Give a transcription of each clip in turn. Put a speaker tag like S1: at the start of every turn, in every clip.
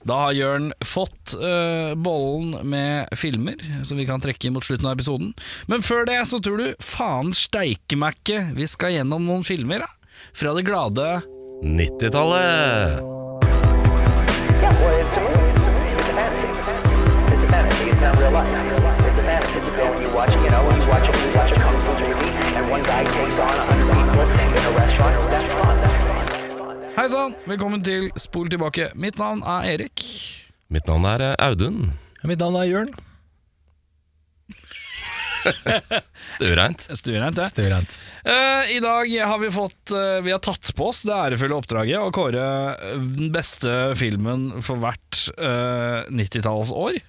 S1: Da har Jørn fått eh, bollen med filmer som vi kan trekke mot slutten av episoden. Men før det så tror du faen steike meg ikke vi skal gjennom noen filmer da. fra det glade
S2: 90-tallet!
S3: Yeah, well, it's a movie. It's a movie. It's a fantasy. It's a fantasy. It's not real life. It's a fantasy. You go and you watch, you know, you watch, you watch a kung fu movie, and one guy takes on a hundred people in a restaurant. That's fun. That's fun. That's fun.
S1: Hei sann, velkommen til Spol tilbake. Mitt navn er Erik.
S2: Mitt navn er eh, Audun.
S4: Mitt navn er Jørn.
S2: Stuereint.
S1: Stuereint, det.
S4: Stuerent.
S1: Eh, I dag har vi fått eh, Vi har tatt på oss det ærefulle oppdraget å kåre eh, den beste filmen for hvert eh, 90-tallsår.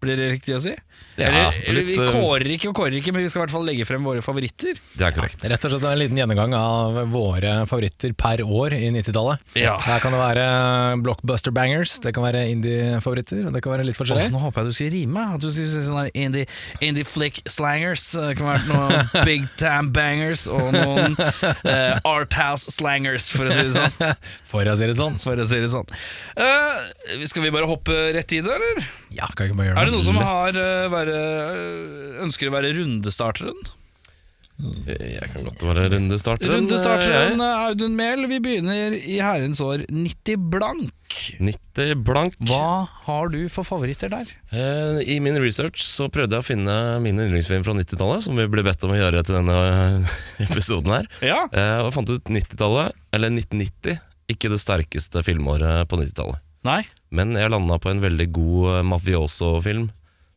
S1: Blir det riktig å si?
S2: Ja,
S1: eller, eller vi
S2: litt, eh,
S1: kårer ikke og kårer ikke, men vi skal i hvert fall legge frem våre favoritter.
S2: Det er korrekt.
S4: Rett og slett en liten gjennomgang av våre favoritter per år i 90-tallet.
S1: Ja.
S4: Her kan det være blockbuster bangers, det kan være indie-favoritter, og det kan være litt
S1: Åh,
S4: forskjellig.
S1: nå håper jeg du skulle rime. At du skulle si sånn her indie, indie flick slangers. eh, Det kan være noen big time bangers og noen eh, art house slangers, for å si det sånn.
S4: For å si det sånn.
S1: For å si det sånn. Eh, skal vi bare hoppe rett i det, eller?
S4: Ja, kan ikke bare gjøre
S1: Er det noen som
S4: lett?
S1: har, eh, være, eh, ønsker å være rundestarteren?
S2: Jeg kan godt være rundestarteren.
S1: Rundestarteren eh, Audun Mehl, vi begynner i herrens år 90 blank.
S2: jeg. 90 blank.
S1: Hva har du for favoritter der?
S2: Eh, I min research så prøvde jeg å finne min yndlingsfilm fra 90-tallet, som vi ble bedt om å gjøre til denne eh, episoden her.
S1: Ja,
S2: Eh, Og jeg fant ut 90-tallet, eller 1990, ikke det sterkeste filmåret på 90-tallet.
S1: nei
S2: Men jeg landa på en veldig god eh, mafioso-film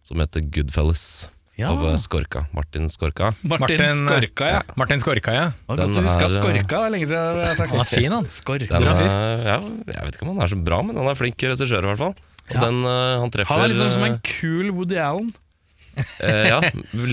S2: som heter Goodfellas.
S1: Ja.
S2: Av eh, Skorka. Martin Skorka.
S1: Martin,
S4: eh,
S1: Skorka, ja.
S4: Martin Skorka, ja.
S1: Det var godt
S2: Den
S1: du huska
S2: er, eh,
S1: Skorka, det er lenge siden jeg har sagt
S4: Han er fin, han.
S1: Skorka.
S2: Den,
S4: Bra fyr.
S2: eh, ja, jeg vet ikke om han er så bra, men han er flink regissør i hvert fall. Og den, eh, han treffer
S1: Han er liksom som en
S2: eh,
S1: kul Woody Allen.
S2: eh, Ja,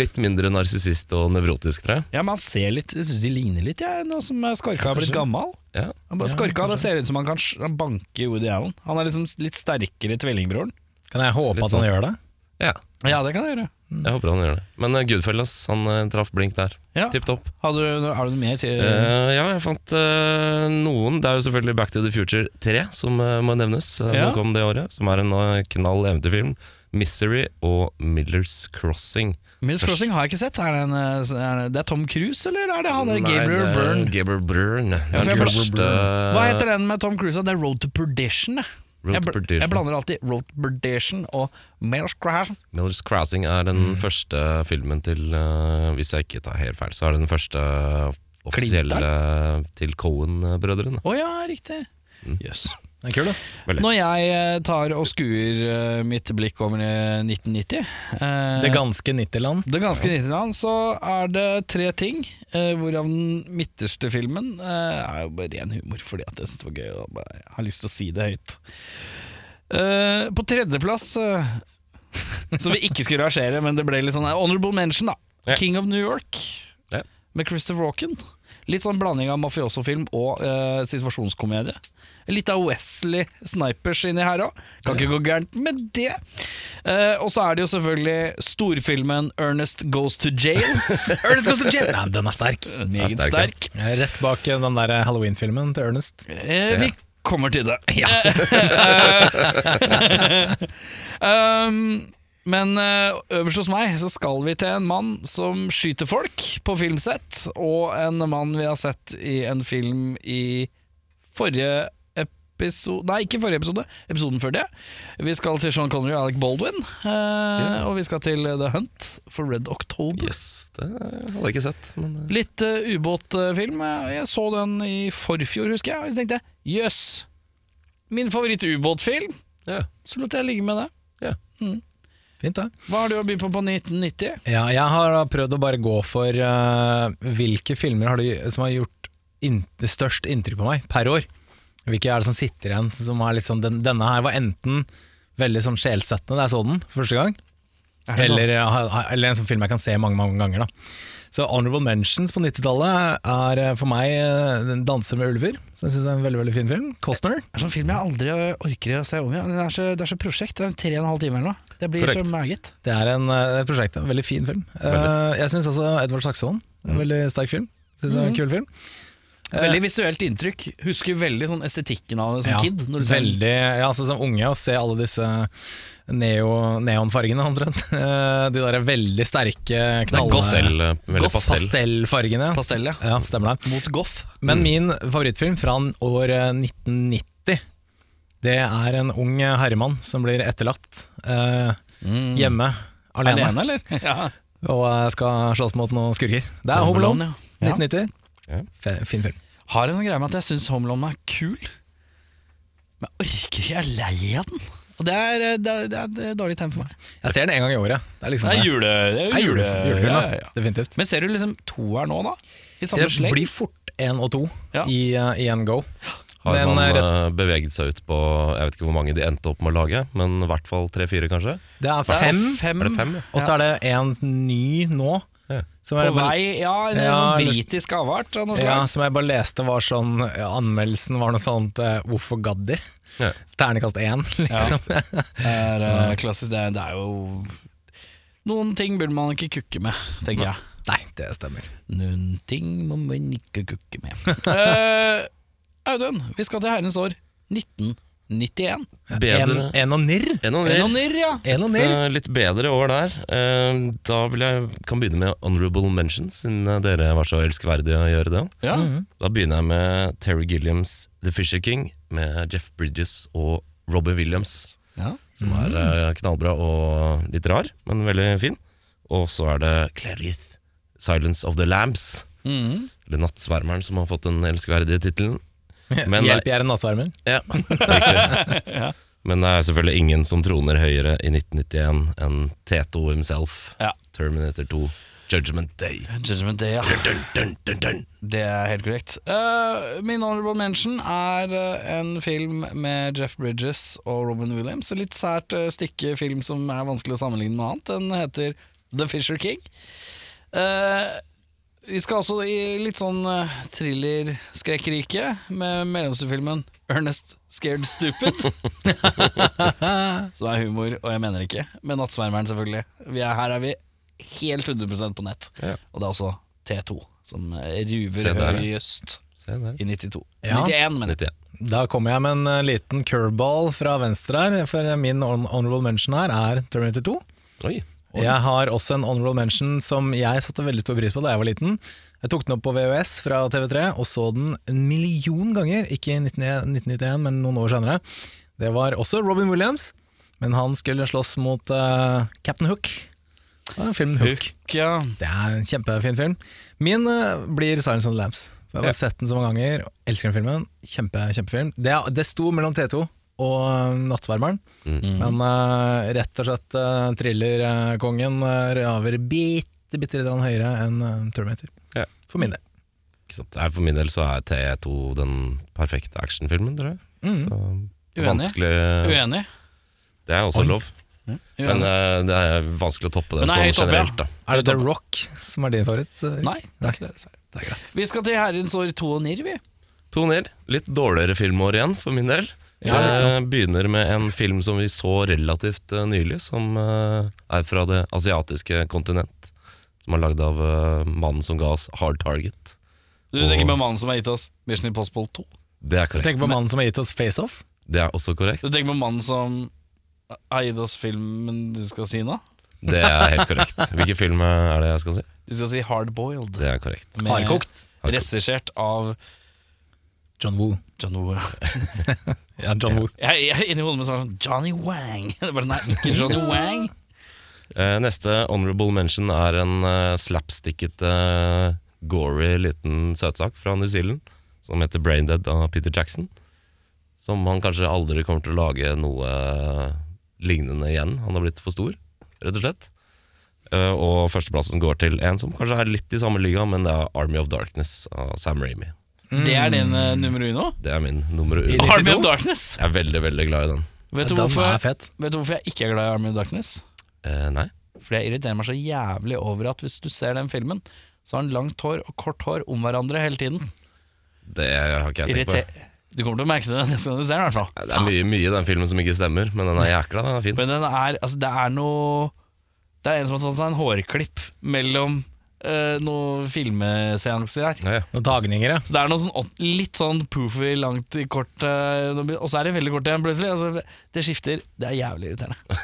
S2: litt mindre narsissist og nevrotisk, tror jeg.
S1: Ja, men han ser litt, Jeg syns de ligner litt, jeg, nå som eh, Skorka har blitt gammel.
S2: Ja.
S1: Han bare, Skorka det ser ut som han kan sj- han banke Woody Allen. Han er liksom litt sterkere tvillingbroren.
S4: Kan jeg håpe
S2: Litt
S4: at han
S2: sånn.
S4: gjør det?
S2: ja,
S1: Ja, det kan jeg gjøre.
S2: jeg håper han gjør det. Men eh, Goodfellas, han eh, traff blink der.
S1: Ja.
S2: Tipp topp.
S1: Har du, har du noe mer til
S2: Eh, ja, jeg fant eh, noen. Det er jo selvfølgelig Back to the Future 3 som eh, må nevnes. eh,
S1: Ja.
S2: Som kom det året. Som er en eh, knall eventyrfilm. Misery og Millers Crossing.
S1: Mills Crossing har jeg ikke sett. Er det, en, eh, er det, det er Tom Cruise, eller er det han der
S2: Nei,
S1: Gabriel
S2: det er
S1: Byrne?
S2: Gabriel Byrne.
S1: Ja, for jeg
S2: Den
S1: forst-
S2: første
S1: Hva heter den med Tom Cruise? da? Det er Road to Perdition. jeg.
S2: Road
S1: jeg,
S2: to
S1: bl-
S2: Perdition.
S1: jeg blander alltid Road to Perdition og Mills Crossing.
S2: Millers Crossing er den
S4: Mm.
S2: første filmen til eh, Hvis jeg ikke tar helt feil, så er det den første offisielle til Cohen-brødrene.
S1: Å ja, riktig.
S2: Mm.
S1: Jøss.
S4: Det er kul, da.
S2: Veldig.
S1: Når jeg eh, tar og skuer eh, mitt blikk over eh, 1990 eh,
S4: Det ganske 90-land.
S1: Det ganske 90-land, så er det tre ting, eh, hvorav den midterste filmen eh, er jo bare ren humor, fordi at jeg synes det var gøy og bare har lyst til å si det høyt. Eh, på tredjeplass, eh, som vi ikke skulle rangere, men det ble litt sånn eh, honorable mention, da.
S2: Ja.
S1: King of New York
S2: Ja.
S1: med Christopher Walken. Litt sånn blanding av mafioso-film og eh, situasjonskomedie. Litt av Wesley Snipers inni her òg. Kan ikke gå gærent med det. Eh, og så er det jo selvfølgelig storfilmen 'Ernest Goes to Jail'.
S4: Ernest goes to jail! Nei, den er sterk.
S1: Meget
S2: sterk, ja.
S1: sterk.
S4: Jeg er Rett bak eh, den der Halloween-filmen til Ernest.
S1: Eh, vi kommer til det. um, men eh, øverst hos meg så skal vi til en mann som skyter folk på filmsett, og en mann vi har sett i en film i forrige episode Nei, ikke forrige episode, episoden før det. Vi skal til Sean Connery og Alec Baldwin, eh, og vi skal til The Hunt for Red October.
S2: Yes, det hadde jeg ikke sett. Men eh,
S1: Litt eh, ubåtfilm. Eh, Jeg så den i forfjor, husker jeg. Og så tenkte jeg jøss, min favoritt-ubåtfilm.
S2: ja.
S1: Så lot jeg ligge med det.
S4: Fint, da.
S1: Hva har du å by på på 1990?
S4: Ja, jeg har da prøvd å bare gå for eh, hvilke filmer har du, som har gjort inn- det størst inntrykk på meg per år. Hvilke er det som sitter igjen som er litt sånn den, Denne her var enten veldig sånn sjelsettende da jeg så den første gang, eller, eh, eller en sånn film jeg kan se mange, mange ganger. da Så Honorable Mentions på 90-tallet er eh, for meg eh, Den 'Danser med ulver', som jeg syns er en veldig veldig fin film. Costner.
S1: Det er sånn film jeg aldri orker å se om igjen. Det er så, det er så prosjekt. Det er tre og en halv time eller noe. Det blir
S2: Korrekt.
S1: så meget.
S4: Det er en, eh, et prosjekt, en veldig fin film. Eh,
S2: Veldig.
S4: jeg syns også Edvard Saxon, en veldig sterk film. Synes det er en kul film
S1: Veldig visuelt inntrykk. Husker veldig sånn estetikken av det som
S4: Ja,
S1: kid. Når du ser den.
S4: veldig, ja, altså Som unge å se alle disse neo, neonfargene, omtrent. Eh, De der veldig sterke knall...
S2: Pastell, eh, veldig
S4: Goff-
S2: pastell.
S4: Pastellfargene. ja.
S1: Pastell, ja.
S4: Ja, stemmer det.
S1: Mot goth.
S4: Men min favorittfilm fra år eh, 1990, det er en ung herremann som blir etterlatt eh, hjemme alene,
S1: Mm. Alene, eller? Ja.
S4: og eh, skal slåss mot noen skurker. Det er Home Alone,
S1: ja.
S4: 1990.
S2: Ja.
S4: Fe- Fin film.
S1: Har en sånn greie med at jeg syns Home Alone er kul, men jeg orker ikke, jeg er lei av den. Og det er, eh, det er, det er, det er dårlig tegn for meg.
S4: Jeg ser den en gang i året. Det er liksom
S1: Det er
S4: det.
S1: jule... Det
S4: Det er jule, julefilm,
S1: ja,
S4: da.
S1: ja, ja.
S4: definitivt.
S1: Men ser du liksom toer nå, da? I samme
S4: Det
S1: sleng?
S4: blir fort én og to
S1: Ja.
S4: i eh, i en go.
S2: Har
S4: Men,
S2: man
S4: eh, rett-
S2: eh, beveget seg ut på Jeg vet ikke hvor mange de endte opp med å lage, men i hvert fall tre-fire, kanskje?
S4: Det er
S1: Det er
S4: fem,
S1: fem.
S2: Er det fem? ja?
S4: og så er det en ny nå.
S2: Ja.
S4: Som
S1: På
S4: jeg bare-
S1: vei Ja, en
S4: Ja,
S1: sånn
S4: eller-
S1: britisk avart av noe slag.
S4: Ja, som jeg bare leste var sånn ja, Anmeldelsen var noe sånt eh, 'Hvorfor gadd de?'
S2: Ja.
S4: Ternekast én, liksom.
S1: Det er eh, klassisk. Det er, det er jo Noen ting burde man ikke kukke med, tenker jeg.
S4: Nei, det stemmer.
S1: Noen ting må man ikke kukke med. Eh, Audun, vi skal til herrens år 1991.
S2: Bedre
S4: En, en og nirr.
S2: enn å
S1: En og nirr, ja.
S4: En og
S2: Et,
S4: nirr.
S2: eh, litt bedre år der. Eh, Da vil jeg kan begynne med honorable mentions, siden eh, dere var så elskverdige å gjøre det.
S1: ja.
S4: Mhm.
S2: Da begynner jeg med Terry Gilliams The Fisher King, med Jeff Bridges og Robbie Williams,
S1: ja.
S2: som er eh, knallbra og litt rar, men veldig fin. Og så er det Clarith, Silence of the Lambs,
S1: Mhm.
S2: eller Nattsvermeren, som har fått den elskverdige tittelen. Men eh,
S4: Hjelp, jeg er en nattsvermer.
S2: Ja, riktig. Men det er selvfølgelig ingen som troner høyere i 1991 enn Teto himself.
S1: Ja.
S2: Terminator 2, Judgment Day.
S1: Judgment Day, ja.
S2: Dun, dun, dun, dun.
S1: Det er helt korrekt. Eh, min honorable mention er eh, en film med Jeff Bridges og Robin Williams. Et litt sært eh, stykke film som er vanskelig å sammenligne med annet. Den heter The Fisher King. Eh, vi skal også i litt sånn uh, thriller-skrekkrike med mellomstefilmen Ernest Scared Stupid. som er humor, og jeg mener ikke. Med Nattsvermeren, selvfølgelig. Vi er, her er vi helt 100 på nett.
S2: Ja.
S1: Og det er også T2, som eh,
S2: Se
S1: ruver
S2: der, ja.
S1: høyest
S2: Se der.
S1: i 92.
S4: Ja.
S1: 91, mener jeg.
S2: 91.
S4: Da kommer jeg med en eh, liten curveball fra venstre her, for min hon- honorable mention her er Terminator 2.
S2: Oi.
S4: Jeg har også en honorable mention som jeg satte veldig stor pris på da jeg var liten. Jeg tok den opp på VHS fra TV3 og så den en million ganger, ikke i 1991, 1991, men noen år senere. Det var også Robin Williams, men han skulle slåss mot eh, Captain Hook. Det var Filmen Hook.
S1: Hook, ja.
S4: Det er en kjempefin film. Min eh, blir 'Silence of the Lambs'. For Jeg har sett den så mange ganger, og elsker den filmen. Kjempe, kjempefilm. Det, er- det sto mellom T2 og eh, 'Nattvermeren',
S1: Mm.
S4: men eh, rett og slett uh, thrillerkongen eh, raver bitte, bitte litt grann høyere enn eh, Terminator.
S2: Ja.
S4: For min del.
S2: Ikke sant? Nei, For min del så er T2 den perfekte actionfilmen, tror jeg.
S4: Mm.
S2: Så
S1: Uenig.
S2: vanskelig
S1: Uenig.
S2: Det er også
S4: Oi.
S2: lov,
S1: Uenig.
S2: men eh, det er vanskelig å toppe den
S1: Men det er
S2: sånn
S1: helt oppe, ja.
S2: generelt. da
S4: Er det The Rock som er din favoritt? Erik?
S1: Nei, det er ikke det. dessverre.
S4: Det er greit.
S1: Vi skal til herrens år 2 og NIR, vi.
S2: To ned. Litt dårligere filmår igjen, for min del. jeg begynner med en film som vi så relativt eh, nylig, som eh, er fra det asiatiske kontinent. Som er lagd av eh, mannen som ga oss Hard Target.
S1: Du
S2: Og-
S1: tenker på mannen som har gitt oss Mission Impossible 2.
S2: Det er
S4: Du
S2: korrekt.
S4: tenker på mannen som har gitt oss Face Off?
S2: Det er også korrekt.
S1: Du tenker på mannen som har gitt oss filmen du skal si nå?
S2: Det er helt korrekt. Hvilken film er det jeg skal si?
S1: Du skal si Hard Boiled.
S2: Det er korrekt.
S1: Med-
S4: Hardkokt?
S1: Regissert av
S4: John Woo.
S1: John Woo.
S4: Ja, John Woo.
S1: Jeg, jeg er inni hodet mitt sånn Johnny Wang. Det er bare, nei, ikke Johnny Wang.
S2: Eh, neste honorable mention er en eh, slapstickete, gory liten søtsak fra New Zealand som heter Braindead av Peter Jackson. Som han kanskje aldri kommer til å lage noe eh, lignende igjen. Han har blitt for stor, rett og slett. Eh, og førsteplassen går til en som kanskje er litt i samme liga, men det er Army of Darkness av Sam Ramy.
S1: Det er din eh, nummer uno?
S2: Det er min nummer
S4: I
S2: uno.
S4: litt-
S2: Jeg
S1: Army of Darkness.
S2: er veldig, veldig glad i den.
S1: Vet du,
S4: Den
S1: hvorfor,
S4: er fet.
S1: vet du hvorfor jeg ikke er glad i Army of Darkness?
S2: Eh, nei.
S1: Fordi jeg irriterer meg så jævlig over at hvis du ser den filmen, så har han langt hår og kort hår om hverandre hele tiden.
S2: Det har ikke jeg tenkt på.
S1: Irriter du kommer til å merke det neste gang du ser den, i hvert fall.
S2: Det er mye, mye i den filmen som ikke stemmer, men den er jækla den er fin.
S1: Men den er, altså, det er noe Det er en som har tatt seg en hårklipp mellom eh, noen filmeseanser her.
S2: Ja, ja.
S4: Noen tagninger, ja.
S1: Så det er noe sånn åt- litt sånn poofy langt i kort, eh, og så er det veldig kort igjen plutselig. Altså, det skifter. Det er jævlig irriterende.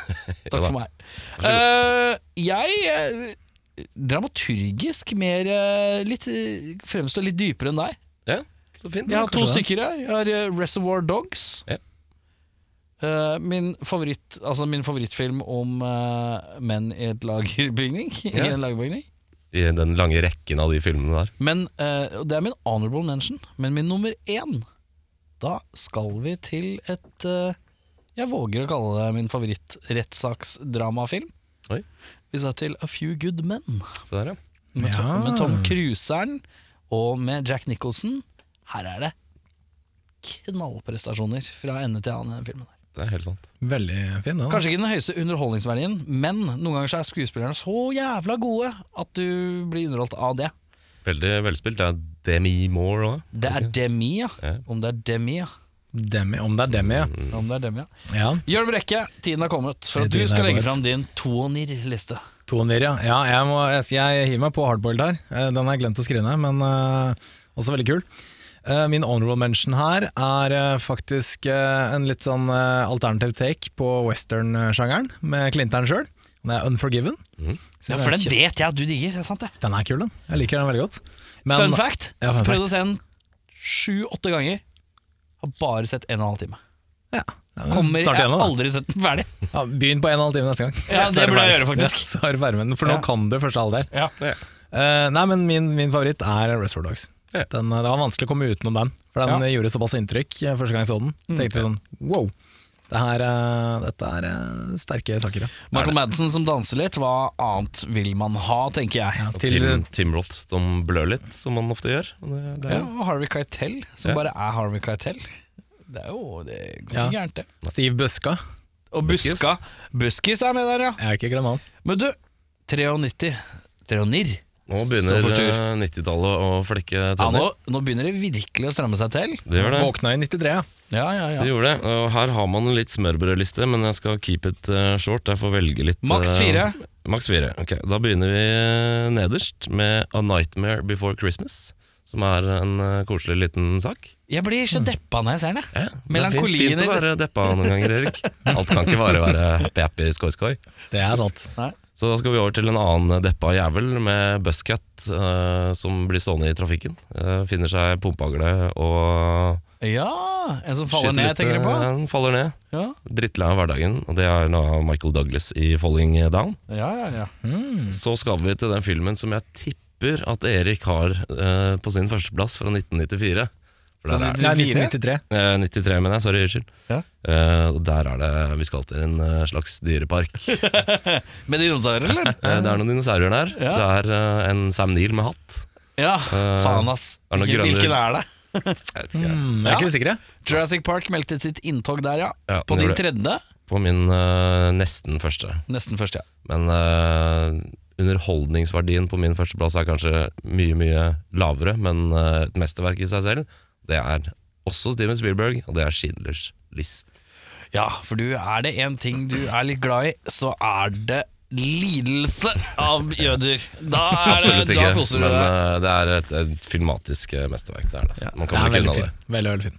S1: Takk for meg. Eh, jeg eh, dramaturgisk mer eh, litt, eh, fremstår litt dypere enn deg.
S2: Ja, så fint.
S1: Jeg har to
S4: kanskje det.
S1: stykker her. Jeg har eh, Reservoir Dogs.
S2: Ja.
S1: Eh, min, favoritt, altså min favorittfilm om eh, menn i et lagerbygning. I
S2: Ja.
S1: en lagerbygning.
S2: I den lange rekken av de filmene der.
S1: Men eh, og Det er min honorable mention, men min nummer én Da skal vi til et eh, Jeg våger å kalle det min favoritt-rettssaksdramafilm.
S2: Oi.
S1: Vi skal til A Few Good Men.
S2: Se der, ja.
S1: Med,
S4: Ja.
S1: Tom, med Tom Cruiseren og med Jack Nicholson. Her er det knallprestasjoner fra ende til annen i den filmen. her.
S2: Det er helt sant.
S4: Veldig fin, den.
S1: Kanskje ikke den høyeste underholdningsverdien, men noen ganger så er skuespillerne så jævla gode at du blir underholdt av det.
S2: Veldig velspilt. Det er Demi Moore òg.
S1: Det er Demi, ja.
S2: Ja.
S1: Om det er Demi, ja.
S4: Demi, om det er Demi, ja.
S1: Om det er Demi, ja.
S4: ja.
S1: Jørn Brekke, tiden er kommet for at du
S4: Tiden er
S1: skal legge
S4: kommet.
S1: fram din toner-liste.
S4: Toner, ja. ja jeg, må, jeg, jeg hiver meg på hardboiled her. Eh, Den har jeg glemt å skrive ned, men eh, også veldig kul. Eh, min honorable mention her er eh, faktisk eh, en litt sånn eh, alternativ take på western-sjangeren, med Clinton sjøl. Den er Unforgiven. Så
S1: Ja,
S4: den
S1: for
S4: er
S1: den
S4: kjempe-
S1: vet jeg at du digger. det er sant det
S4: den er kul, den. Jeg liker den veldig godt.
S1: Fun fact,
S4: Ja, fun
S1: jeg prøvde å se den sju-åtte ganger. Har bare sett en og en halv time.
S4: ja, den er
S1: Kommer, jeg
S4: snart
S1: har
S4: igjennom, da.
S1: aldri sett den ferdig.
S4: Ja, Begynn på en og en halv time neste gang.
S1: Ja,
S4: Så
S1: det burde
S4: er
S1: jeg
S4: ferdig.
S1: gjøre, faktisk.
S4: Ja, så er du ferdig med den, for nå
S1: Ja.
S4: kan du første halvdel.
S1: Ja.
S4: Eh, nei, men min, min favoritt er Reservoir Dogs.
S2: Ja.
S4: Den, eh, det var vanskelig å komme utenom den, for den
S1: Ja. Mm.
S4: eh, gjorde såpass inntrykk eh, første gang jeg så den. Tenkte sånn wow, det her, eh, dette er eh, sterke saker. Ja.
S1: Michael Madsen som danser litt, hva annet vil man ha, tenker jeg.
S2: Og
S4: Til,
S2: Tim, Tim Roth som blør litt, som han ofte gjør. Og Det, det
S1: Ja,
S2: er,
S1: og Harvey Keitel, som
S2: Ja.
S1: bare er Harvey Keitel. Det er jo det går
S4: Ja.
S1: gærent, det.
S4: Steve Buska.
S1: Og
S2: Buskis.
S1: Buska. Buskis er med der, ja.
S4: Jeg har ikke glemt han.
S1: Men du, 93 Treonir.
S2: nå
S1: Står
S2: begynner
S1: for tur.
S2: eh, 90-tallet å flekke
S1: Ja, nå,
S2: tenner.
S1: nå begynner det virkelig å stramme seg til.
S2: det gjør det.
S4: Våkna i 93, ja.
S1: Ja, ja, ja.
S2: Det gjorde det. Og her har man en litt smørbrødliste, men jeg skal keep it eh, short. Jeg får velge litt
S1: Maks
S2: eh,
S1: fire.
S2: Maks fire. Ok, Da begynner vi eh, nederst med A Nightmare Before Christmas, som er en eh, koselig liten sak.
S1: Jeg blir så deppa når jeg ser den. jeg.
S2: Ja, det er fint-
S1: Melankolien
S2: Fint
S1: i
S2: å være deppa noen ganger, Erik. Alt kan ikke bare være happy-happy skoi-skoi.
S4: Det er sant.
S2: Så da skal vi over til en annen deppa jævel med buscat eh, som blir stående i trafikken. Eh, finner seg pumpehagle og
S1: Ja, En som faller ned, tenker du på?
S2: eh, faller ned.
S1: Ja,
S2: Drittlei av hverdagen, og det er da Michael Douglas i 'Falling Down'.
S1: ja, ja. ja. Mm.
S2: Så skal vi til den filmen som jeg tipper at Erik har eh, på sin førsteplass fra 1994. For der er,
S4: Det er
S1: 94?
S4: 1993.
S2: eh, 93, mener jeg. Sorry, unnskyld.
S1: Ja.
S2: Eh, og der er det Vi skal til en eh, slags dyrepark.
S1: Med dinosaurer, eller?
S2: Eh, det er noen dinosaurer der.
S1: Ja.
S2: Det er eh, en Sam Neill med hatt.
S1: Ja,
S2: Eh,
S1: faen, ass.
S2: er det noen
S1: Hvilken,
S2: grønne-
S1: hvilken er det?
S2: Jeg vet ikke,
S4: Mm, jeg
S1: Ja.
S4: er ikke sikre.
S1: Jurassic Park meldte sitt inntog der, ja.
S2: Ja,
S1: På
S2: den
S1: din
S2: gjorde
S1: tredje.
S2: På min eh, nesten første.
S1: Nesten først, ja.
S2: Men eh, underholdningsverdien på min førsteplass er kanskje mye, mye lavere. Men eh, et mesterverk i seg selv, det er også Steven Spielberg, og det er Schindlers list.
S1: Ja, for du er det én ting du er litt glad i, så er det lidelse av jøder. Da, er
S2: Absolutt
S1: det,
S2: ikke,
S1: da koser du
S2: men
S1: deg.
S2: eh, det er et, et filmatisk eh, mesterverk. Det er det. altså. Man
S4: Ja,
S2: kommer ikke
S4: veldig
S2: unna det.
S4: fin. Veldig, veldig fin.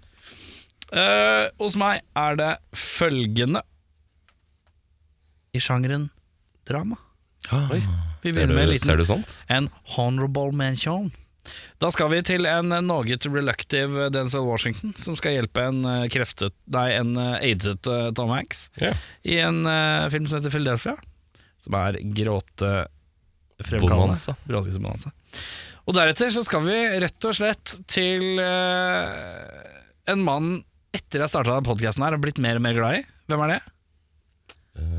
S1: Eh, hos meg er det følgende i sjangeren drama.
S4: Oi.
S1: Vi
S2: Ah, Ser
S1: begynner med en
S2: du,
S1: liten
S2: ser du sånt?
S1: en honorable mention. Da skal vi til en eh, noe reluctive Denzel Washington, som skal hjelpe en eh, kreftet, nei, en eh, aidet eh, Tom Hanks
S2: Ja.
S1: i en eh, film som heter Philadelphia, som er gråtefremkallende.
S2: Bonanza.
S1: Gråtesbonanza. Og deretter så skal vi rett og slett til eh, en mann etter jeg starta podkasten her, har blitt mer og mer glad i. Hvem er det?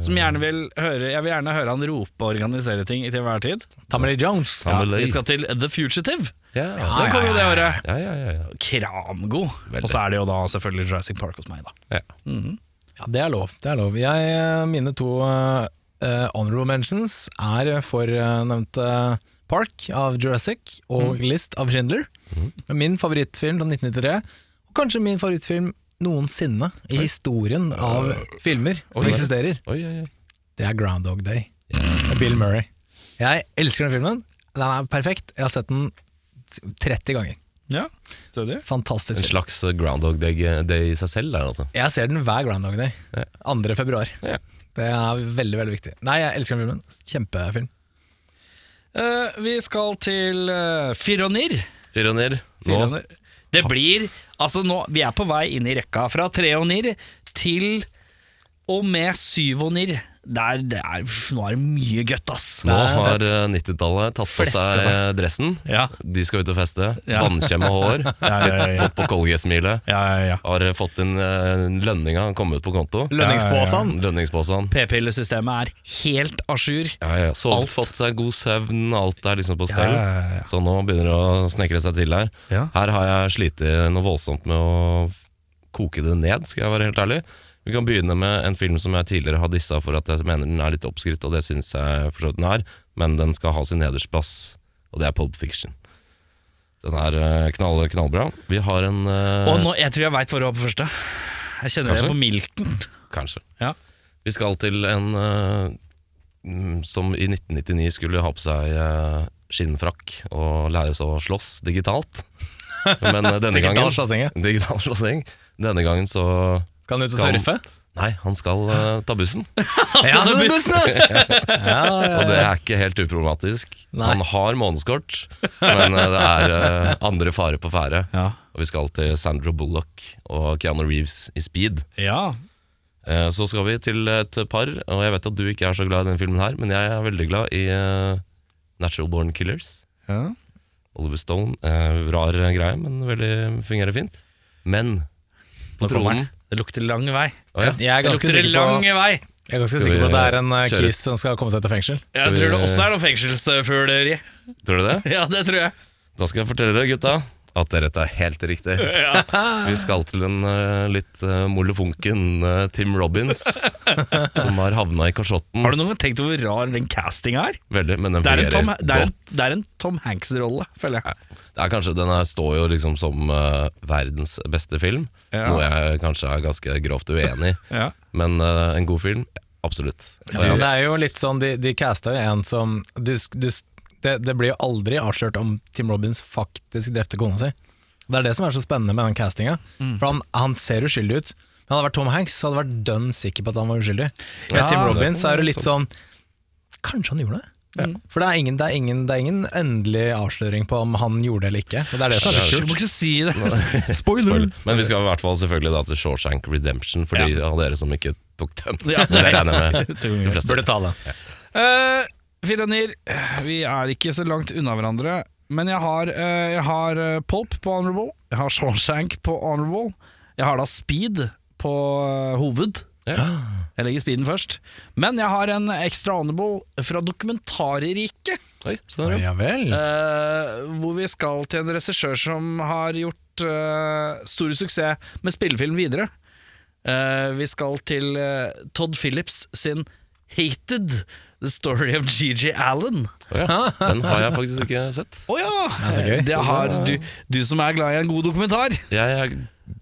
S1: Som
S2: Eh.
S1: gjerne vil høre Jeg vil gjerne høre han rope og organisere ting til hver tid.
S4: Tommy Lee Jones.
S1: Ja,
S2: Samuel L.
S1: vi skal til The Fugitive.
S2: Ja, Ah, ja,
S1: Den kom jo det året.
S2: ja, ja, ja, ja.
S1: Kramgod. Og så er det jo da selvfølgelig Jurassic Park hos meg, da. Mhm.
S2: ja.
S4: Ja, det er lov. Det er lov. Jeg, mine to eh, honorable mentions er for eh, nevnte Park av Jurassic og List av Schindler. Min favorittfilm fra 1993, og kanskje min favorittfilm noensinne i historien av filmer som
S2: Oi.
S4: eksisterer,
S2: Oi, oi, oi.
S4: det er Groundhog Day av Bill Murray. Jeg elsker den filmen. Den er perfekt. Jeg har sett den 30 ganger.
S1: Ja, stødig.
S4: Fantastisk.
S2: En
S4: film.
S2: slags uh, Groundhog Day Day i seg selv der, altså.
S4: Jeg ser den hver Groundhog Day. 2. februar.
S2: Ja.
S4: Det er veldig veldig viktig. Nei, jeg elsker den filmen. Kjempefilm.
S1: Eh, vi skal til uh, Fironir.
S2: Pyronir, nå
S1: Fironir. Det blir Altså, nå Vi er på vei inn i rekka. Fra treonir til og med syvonir. Det er, det er, pff, nå er det mye gøtt, ass.
S2: Nå
S1: Det er-
S2: har
S1: det-
S2: eh, 90-tallet tatt på
S1: Fleste
S2: seg eh, dressen.
S1: Ja.
S2: De skal ut og feste.
S1: Ja.
S2: Vannkjemme hår.
S1: Ja, ja, ja, ja.
S2: Fått på Colgate-smilet.
S1: ja, ja, ja.
S2: Har eh, fått inn eh, lønninga, kommet ut på konto.
S4: Lønningspåsen.
S2: Lønningsposen.
S1: P-pillesystemet er helt à jour.
S2: Ja, ja. Sovet,
S1: Alt.
S2: fått seg god søvn, alt er liksom på
S1: Ja,
S2: stell.
S1: ja, ja, ja.
S2: Så nå begynner det å snekre seg til her.
S1: Ja.
S2: Her har jeg slitt noe voldsomt med å f- koke det ned, skal jeg være helt ærlig. Vi kan begynne med en film som jeg tidligere har dissa for at jeg mener den er litt oppskrytt, og det syns jeg for så vidt den er, men den skal ha sin nedersplass, og det er Pulp Fiction. Den er eh, knall, knallbra. Vi har en eh,
S1: Og nå, jeg tror jeg veit hvor du var på første. Jeg kjenner
S2: Kanskje?
S1: det på milten.
S2: Kanskje.
S1: Ja.
S2: Vi skal til en eh, mm, som i 1999 skulle ha på seg eh, skinnfrakk og lære seg å slåss digitalt. Men eh, denne
S4: Digital
S2: gangen
S4: slåssinge.
S2: Digital slåssing. Denne gangen så
S4: Skal den ut og
S2: Skal-
S4: surfe?
S2: Nei, han skal eh, ta bussen.
S4: Ja, så det er bussen, ja. ja, ja,
S2: Og det er ikke helt uproblematisk.
S4: Nei.
S2: Han har månedskort, men eh, det er eh, andre fare på ferde.
S1: Ja.
S2: Og vi skal til Sandra Bullock og Keanu Reeves i Speed.
S1: ja.
S2: Eh, Så skal vi til et par, og jeg vet at du ikke er så glad i denne filmen her, men jeg er veldig glad i eh, Natural Born Killers.
S1: ja.
S2: Oliver Stone. eh, rar greie, men veldig fungerer fint. Men på
S1: Nå kommer
S2: tronen
S1: den. Det lukter lang vei.
S2: Å ja.
S4: Jeg er
S1: Det
S4: ganske
S1: lukter
S4: sikker på
S1: lang vei.
S4: Jeg er ganske
S2: Skal
S4: sikker
S2: vi
S4: på at det er en eh,
S2: kjøre?
S4: kis som skal komme seg ut av fengsel.
S1: Jeg
S2: vi-
S1: tror det også er noe fengselsfugleri.
S2: Tror du det?
S1: Ja, det tror jeg.
S2: Da skal jeg fortelle dere, gutta, at dere tar helt riktig. Vi skal til en eh, litt uh, molefonken eh, Tim Robins, som har havna i kasjotten.
S1: Har du noen gang tenkt over hvor rar den castinga er?
S2: Veldig, men den
S1: Det er en
S2: fungerer
S1: Tom, det er en,
S2: godt.
S1: det er en Tom Hanks-rolle, føler jeg.
S2: Det er kanskje, den her står jo liksom som eh, verdens beste film,
S1: Ja.
S2: noe jeg kanskje er ganske grovt uenig i.
S1: Ja.
S2: Men eh, en god film, absolutt. Og
S4: Men
S2: jeg-
S4: det er jo litt sånn, De, de casta jo en som du, sk- du, sk- det, det blir jo aldri avslørt om Tim Robins faktisk drepte kona si. Det er det som er så spennende med den castinga. For han, han ser uskyldig ut. Men hadde det vært Tom Hanks, så hadde jeg vært dønn sikker på at han var uskyldig. Med
S2: Ja,
S4: Tim
S2: det-
S4: Robins så er det litt sånn Mm. Kanskje han gjorde det? For det er, ingen, det, er ingen, det er ingen endelig avsløring på om han gjorde det eller ikke. Og det er det som er så
S1: Du må
S4: kult.
S1: ikke si det.
S4: Spoiler!
S2: Men vi skal i hvert fall selvfølgelig da til Shawshank Redemption, for de av dere som ikke tok den.
S1: Ja,
S2: det regner jeg med.
S1: Tunge.
S2: De fleste.
S4: Burde ta det.
S1: Eh, Filanir, vi er ikke så langt unna hverandre. Men jeg har, eh, jeg har eh, Pulp på Honorable, jeg har Shawshank på Honorable, jeg har da Speed på eh, Hoved. Jeg legger Speeden først. Men jeg har en ekstra Honorable fra dokumentareriket.
S2: Oi, se der, ja.
S4: Ja vel.
S1: Eh, hvor vi skal til en regissør som har gjort eh, stor suksess med spillefilm videre. Eh, vi skal til eh, Todd Phillips sin 'Hated', 'The Story of GG Allen'.
S2: Å ja. Den har jeg faktisk ikke sett.
S1: Å ja!
S4: så gøy.
S1: Det har du, du som er glad i en god dokumentar.
S2: Jeg er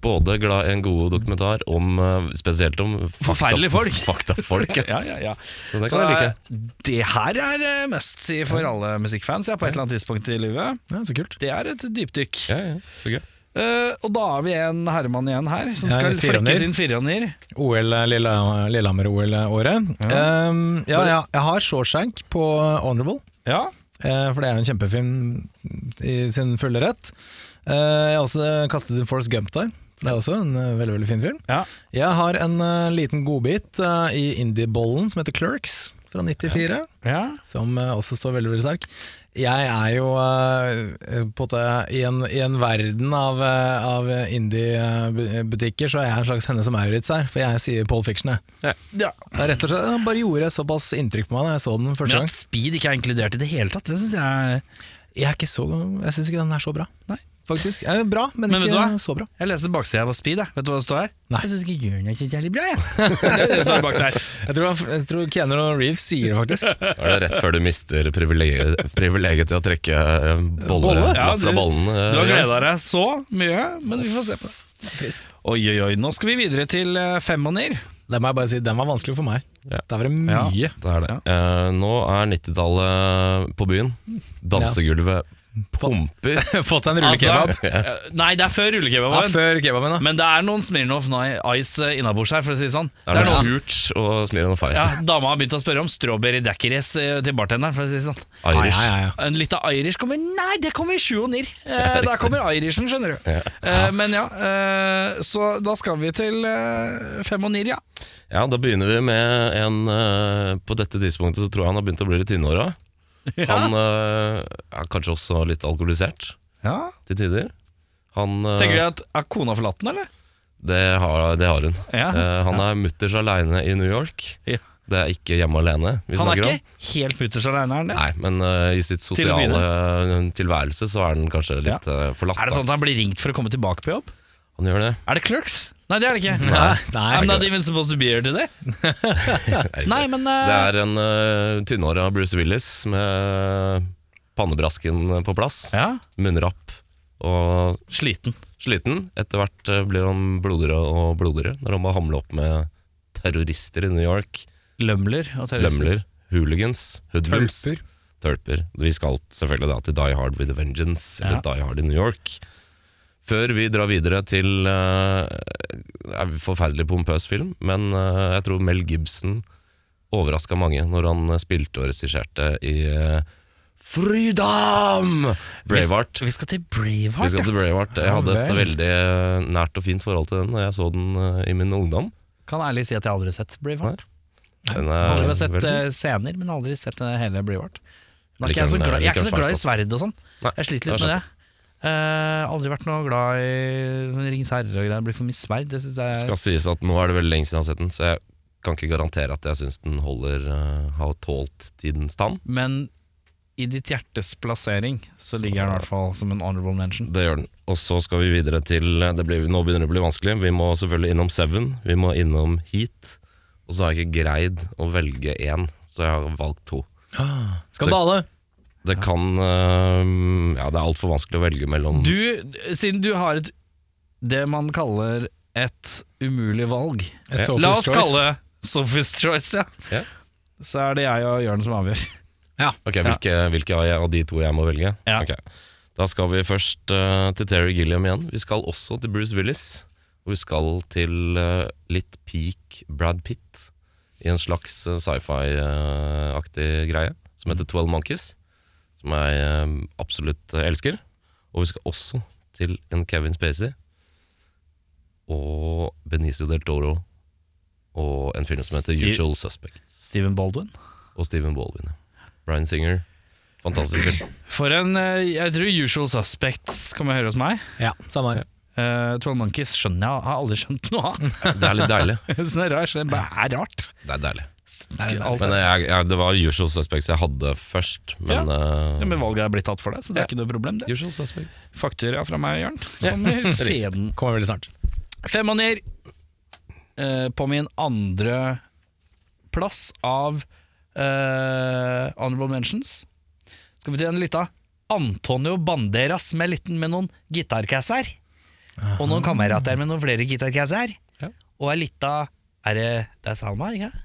S2: både glad i en god dokumentar om eh, Spesielt om
S1: Forferdelige folk.
S2: Fakta folk ja.
S1: Ja, ja, ja.
S2: Så det
S1: Så
S2: kan jeg like.
S1: eh, det her er eh, must see for alle musikkfans ja, på et eller annet tidspunkt i livet.
S4: Ja, så kult.
S1: Det er et dypdykk.
S2: Ja, ja, så gøy.
S1: Eh, og da er vi en herremann igjen her, som
S4: Ja,
S1: skal
S4: en
S1: flekke
S4: fireånder.
S1: sin fireånder.
S4: OL, Lille- Lillehammer-OL-året. Ja. Ehm, ja, ja, jeg har Shawshank på Honorable,
S1: Ja.
S4: eh, for det er jo en kjempefilm i sin fulle rett. Eh, jeg har også kastet inn Force Gump der, for det er også en eh, veldig veldig fin film.
S1: Ja.
S4: Jeg har en eh, liten godbit eh, i indiebollen som heter Clerks fra 94,
S1: ja.
S4: som eh, også står veldig veldig sterk. Jeg er jo eh, på en måte i en, i en verden av, eh, av indie-butikker, så er jeg en slags henne som Maurits her, for jeg sier Pole Fiction, jeg.
S1: Ja.
S4: Ja, Rett og slett, den bare gjorde såpass inntrykk på meg da jeg så den første
S1: Men at
S4: gang.
S1: speed ikke er inkludert i det hele tatt, det syns jeg
S4: Jeg, er ikke så, jeg syns ikke den er så bra,
S1: Nei.
S4: faktisk. Eh, Bra, men,
S1: Men vet du hva?
S4: ikke så bra.
S1: Jeg leste baksida på speed, jeg. Vet du hva det står her?
S4: Nei.
S1: Jeg syns ikke Jørn er så særlig bra, jeg. det er det som er bak der.
S4: Jeg tror, han- jeg tror Keanu Reeves sier det, faktisk.
S2: Da er det rett før du mister privilegiet, privilegiet til å trekke eh, boller
S4: Bolle?
S2: ja,
S1: du,
S2: fra bollen. eh,
S1: du har
S2: ja.
S1: gleda deg så mye, men vi får se på det. Oi, oi, oi. Nå skal vi videre til eh, femåner.
S4: Det må jeg bare si, den var vanskelig for meg.
S2: Ja.
S4: Der var det mye.
S2: Det er det. Eh, nå er 90-tallet på byen. Dansegulvet pumper.
S4: Fått seg en rullekebab.
S1: eh, nei, det er før
S4: ja,
S1: rullekebaben.
S4: før kebaben, da.
S1: men det er noen Smirnoff Ni- Ice eh, innabords her, for å si det sånn.
S2: Det er noe Hooch og Smirnoff Ice.
S1: ja, Dama har begynt å spørre om strawberry daiquiris eh, til bartenderen. for å si det sånn
S2: Irish.
S4: Ja, ja, ja, ja.
S1: En liten Irish kommer Nei, det kommer i sju og nir. Eh, der kommer Irishen, skjønner du.
S2: Ja.
S1: Eh, men ja, eh, så da skal vi til eh, fem og nir, ja.
S2: Ja, da begynner vi med en eh, På dette tidspunktet så tror jeg han har begynt å bli litt innåra. Han eh, er kanskje også litt alkoholisert til tider. Han, eh,
S1: Tenker du at er kona forlatt den, eller?
S2: det, har, det har hun.
S1: Ja.
S2: Eh, han er mutters aleine i New York.
S1: Ja.
S2: Det er ikke hjemme alene vi
S1: Han er
S2: snakker om.
S1: ikke helt mutters aleine, er han det?
S2: Nei, men eh, i sitt
S1: å
S2: sosiale eh, tilværelse så er den kanskje litt eh, forlatt.
S1: Er det
S2: da.
S1: sånn at han blir ringt for å komme tilbake på jobb?
S2: Han gjør det.
S1: Er det Clerks? Nei, det er det ikke.
S4: Nei,
S1: I'm
S4: nei.
S1: not even supposed to be here today.
S2: Nei,
S1: Nei, men eh,
S2: Det er en uh, tynnhåra Bruce Willis med eh, pannebrasken eh, på plass,
S1: eh, ja,
S2: munnrapp og
S1: sliten.
S2: sliten. Etter hvert eh, blir han blodigere og blodigere når han må hamle opp med terrorister i New York.
S1: Lømler og terrorister.
S2: Lømler, hooligans, hoodlums. Tølper. Vi skal selvfølgelig da til Die Hard with a Vengeance, eller
S1: Ja.
S2: Die Hard in New York. Før vi drar videre til eh, en forferdelig pompøs film, men eh, jeg tror Mel Gibson overraska mange når han eh, spilte og regisserte i eh, Freedom! Braveheart.
S1: Vi skal til
S2: Vi
S1: Braveheart,
S2: skal til Braveheart. Jeg
S4: Ja
S2: hadde et
S4: vel.
S2: veldig eh, nært og fint forhold til den da jeg så den eh, i min ungdom.
S1: ja. Kan ærlig si at jeg aldri har sett Braveheart.
S2: Den
S1: Jeg har
S2: er,
S1: aldri sett
S2: veldig-
S1: eh, scener, men aldri sett eh, hele Braveheart. Nå er
S2: Liker
S1: ikke jeg, så
S2: den, eh,
S1: glad, jeg er
S2: liker
S1: ikke så
S2: den
S1: glad i
S2: svært
S1: sverd og sånn.
S2: Nei,
S1: Jeg sliter
S2: jeg
S1: litt
S2: har
S1: med det. Eh, aldri vært noe glad i sånn Ringens herre og greier. Det blir for mye sverd. Det synes jeg
S2: skal sies at nå er det veldig lenge siden jeg har sett den, så jeg kan ikke garantere at jeg syns den holder eh, har tålt tidens stand.
S1: Men i ditt hjertes plassering så ligger den i hvert fall som en honorable mention.
S2: Det gjør den. Og så skal vi videre til eh, det blir, Nå begynner det å bli vanskelig. Vi må selvfølgelig innom Seven, vi må innom Heat. Og så har jeg ikke greid å velge én, så jeg har valgt to.
S1: Ah,
S4: Skandale!
S2: Det kan eh, Ja, det er altfor vanskelig å velge mellom
S1: Du, siden du har et det man kaller et umulig valg
S4: Sophie's
S1: La oss
S4: Choice.
S1: kalle Sophie's Choice, ja.
S2: Ja.
S1: Så er det jeg og Jørn som avgjør.
S2: Ok, hvilke, hvilke av- av de to jeg må velge?
S1: Ja.
S2: Ok. Da skal vi først eh, til Terry Gilliam igjen. Vi skal også til Bruce Willis. Og vi skal til eh, litt peak Brad Pitt i en slags eh, sci-fi-aktig greie som heter Twelve Monkeys. Som jeg eh, absolutt eh, elsker. Og vi skal også til en Kevin Spacey og Benicio del Toro. Og en film som heter
S1: Sti-
S2: Usual Suspects.
S1: Steven Baldwin.
S2: Og Steven Baldwin. ja. Bryan Singer. Fantastisk film.
S1: For en eh, Jeg tror Usual Suspects kommer høyere hos meg.
S4: Ja, samme her.
S1: Uh, Twelve Monkeys skjønner jeg, har aldri skjønt noe av.
S2: Det er litt deilig.
S1: Så det er rart. så Det bare er rart.
S2: Det er deilig.
S1: Alt
S2: Men eh,
S1: er-
S2: jeg, jeg, det var Usual Suspects jeg hadde først, men eh,
S1: men valget er blitt tatt for deg, så det er ikke noe problem. det
S2: Usual Suspects.
S1: Faktura fra meg, Jørn. Kan vi se den.
S4: Kommer veldig snart.
S1: Fem og nier. Eh, på min andre plass av eh, honorable mentions skal vi til en lita Antonio Banderas med, liten, med noen gitarkasser. Og noen kamerater med noen flere gitarkasser.
S2: Ja.
S1: Og ei lita Er det Det er Salma, ikke sant?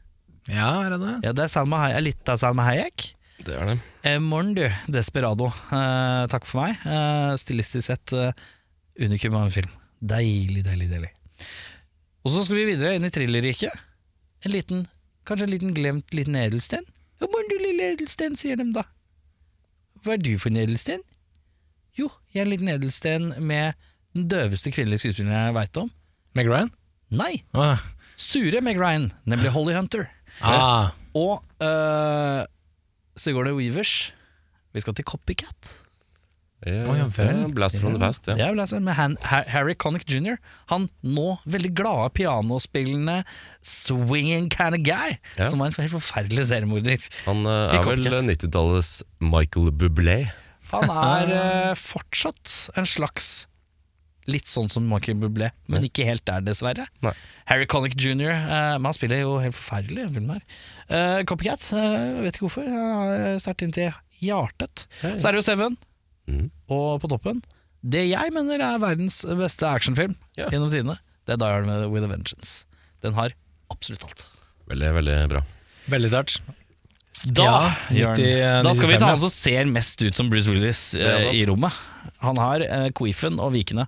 S4: Ja, er det det?
S1: Ja, det er Salma, Hay- ei lita Salma Hayek.
S2: Det er det.
S1: Eh, morgen, du. Desperado. Eh, takk for meg. Eh, stilistisk sett eh, unikum av en film. Deilig, deilig, deilig. Og så skal vi videre inn i thrillerriket. En liten, kanskje en liten glemt liten edelsten. Ja, morgen, du lille edelsten, sier de da. Hva er du for en edelsten? Jo, jeg er en liten edelsten med den døveste kvinnelige skuespilleren jeg veit om.
S4: Meg Ryan?
S1: Nei,
S4: Ah.
S1: sure Meg Ryan, nemlig Holly Hunter.
S4: Ah.
S1: Og øh, Sigourney Weavers. Vi skal til Copycat.
S2: Eh,
S4: Å, ja vel.
S2: eh, Blast from the past,
S1: Det
S2: ja.
S1: er vel altså med han, Ha- Harry Connick jr. Han nå veldig glade pianospillende swinging kind of guy,
S2: Ja.
S1: som var en helt forferdelig seriemorder.
S2: Han eh,
S1: I
S2: er vel
S1: Copycat.
S2: 90-tallets Michael Bublé.
S1: Han er øh, fortsatt en slags Litt sånn som Michael Bublé, men ikke helt der, dessverre.
S2: Nei.
S1: Harry Connick jr. eh, men han spiller jo helt forferdelig i den filmen her. Eh, Copycat, eh, vet ikke hvorfor. Uh, Sterkt inntil hjertet.
S2: Ja, ja.
S1: Så er det jo Seven.
S2: Mhm.
S1: Og på toppen Det jeg mener er verdens beste actionfilm
S2: Ja.
S1: gjennom tidene, det er Die Hard with a Vengeance. Den har absolutt alt.
S2: Veldig, veldig bra.
S4: Veldig sterkt.
S1: Da,
S4: Ja,
S1: Jørn,
S4: 90,
S1: da skal vi ta
S4: 95,
S1: sånn-
S4: ja.
S1: han som ser mest ut som Bruce Willis
S2: er
S1: eh,
S2: sant.
S1: i rommet. Han har eh, queefen og vikene.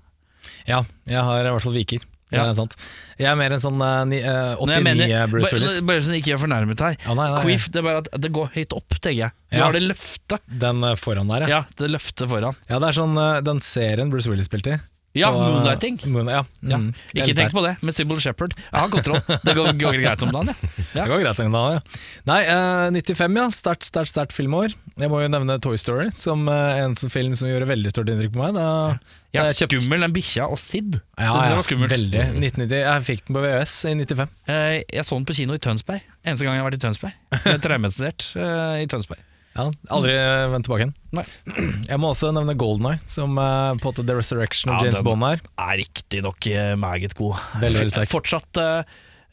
S4: Ja, jeg har i hvert fall viker.
S1: Ja.
S4: Det er sant. Jeg er mer en sånn eh, ni- eh,
S1: Når jeg
S4: 89
S1: mener-
S4: Bruce
S1: bare-
S4: Willis.
S1: Bare sånn ikke jeg er fornærmet her.
S4: Ja, nei, nei, nei.
S1: Queef, det er bare at det går høyt opp, tenker jeg. Du
S4: Ja.
S1: har det løftet.
S4: Den eh, foran der, ja.
S1: Ja, det løftet foran.
S4: ja. Det er sånn eh, den serien Bruce Willis spilte i.
S1: Ja,
S4: På, eh,
S1: moonlighting.
S4: Moon, ja.
S1: Ja.
S4: Mm, jeg er
S1: Ikke
S4: litt der.
S1: tenk på det med Sybil Shepherd. Jeg har kontroll. Det går, går greit om dagen, jeg. Ja.
S4: Det går greit. Da, ja. Nei, eh, 95, ja. Sterkt, sterkt, sterkt filmår. Jeg må jo nevne Toy Story som eh, en sånn film som gjorde veldig stort inntrykk på meg. Da,
S1: Ja,
S4: da jeg kjøpte-
S1: skummel, den bikkja og Sid. det
S4: Ja,
S1: synes
S4: ja,
S1: jeg var skummelt.
S4: Veldig. 1990. Jeg fikk den på VØS i 95.
S1: Eh, Jeg så den på kino i Tønsberg. Eneste gang jeg har vært i Tønsberg. Jeg er Traumatisert eh, i Tønsberg.
S4: Ja, aldri eh, vendt tilbake igjen.
S1: Nei.
S4: Jeg må også nevne Golden Eye, som eh, på en måte The Resurrection of
S1: Ja,
S4: James
S1: den-
S4: Bond er.
S1: Er riktignok meget god.
S4: Veldig, veldig sterk.
S1: Fortsatt eh,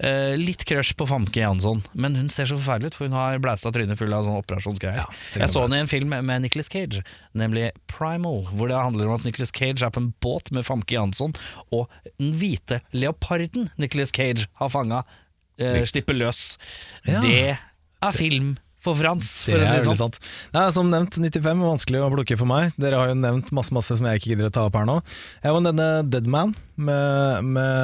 S1: eh, litt crush på Famke Jansson, men hun ser så forferdelig ut, for hun har blæsta trynet full av sånne operasjonsgreier.
S4: Ja, sikkert
S1: jeg så
S4: blæst.
S1: henne i en film med Nicolas Cage, nemlig Primal, hvor det handler om at Nicolas Cage er på en båt med Famke Jansson, og den hvite leoparden Nicolas Cage har fanga, eh, slipper løs.
S4: Ja.
S1: Det er film for Frans, for å
S4: Det er
S1: si det
S4: veldig
S1: sånn.
S4: sant. Nei, som nevnt, 95 er vanskelig å plukke for meg. Dere har jo nevnt masse masse som jeg ikke gidder å ta opp her nå. Jeg må nevne Deadman med,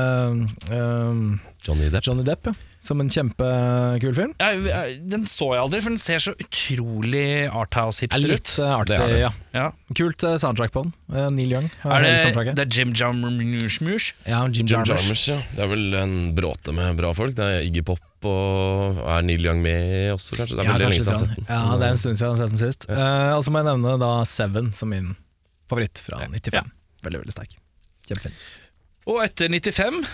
S4: med ehm,
S2: Johnny Depp.
S4: Johnny Depp, ja. som en kjempekul film.
S1: Ja, jeg- den så jeg aldri, for den ser så utrolig arthouse-hipster ut.
S4: Litt eh, artsy,
S2: Det er det.
S4: ja.
S1: Ja.
S4: Kult eh, soundtrack på den. Eh, Neil Young. har
S1: Er
S4: hele
S1: det,
S4: soundtracket.
S1: det er Jim Jarmusch?
S4: ja,
S2: Jim
S4: Jim, Jarmusch.
S2: Jarmusch, ja. Det er vel en bråte med bra folk. Det er Iggy Pop og Er Neil Young med også, kanskje? Det er
S4: Ja,
S2: veldig
S4: kanskje
S2: lenge siden jeg har
S4: litt
S2: sett den.
S4: grann. Ja, det er en stund siden jeg har sett den sist. Eh, og så må jeg nevne da Seven som min favoritt fra 95. Veldig, veldig sterk. Kjempefin.
S1: Og etter 95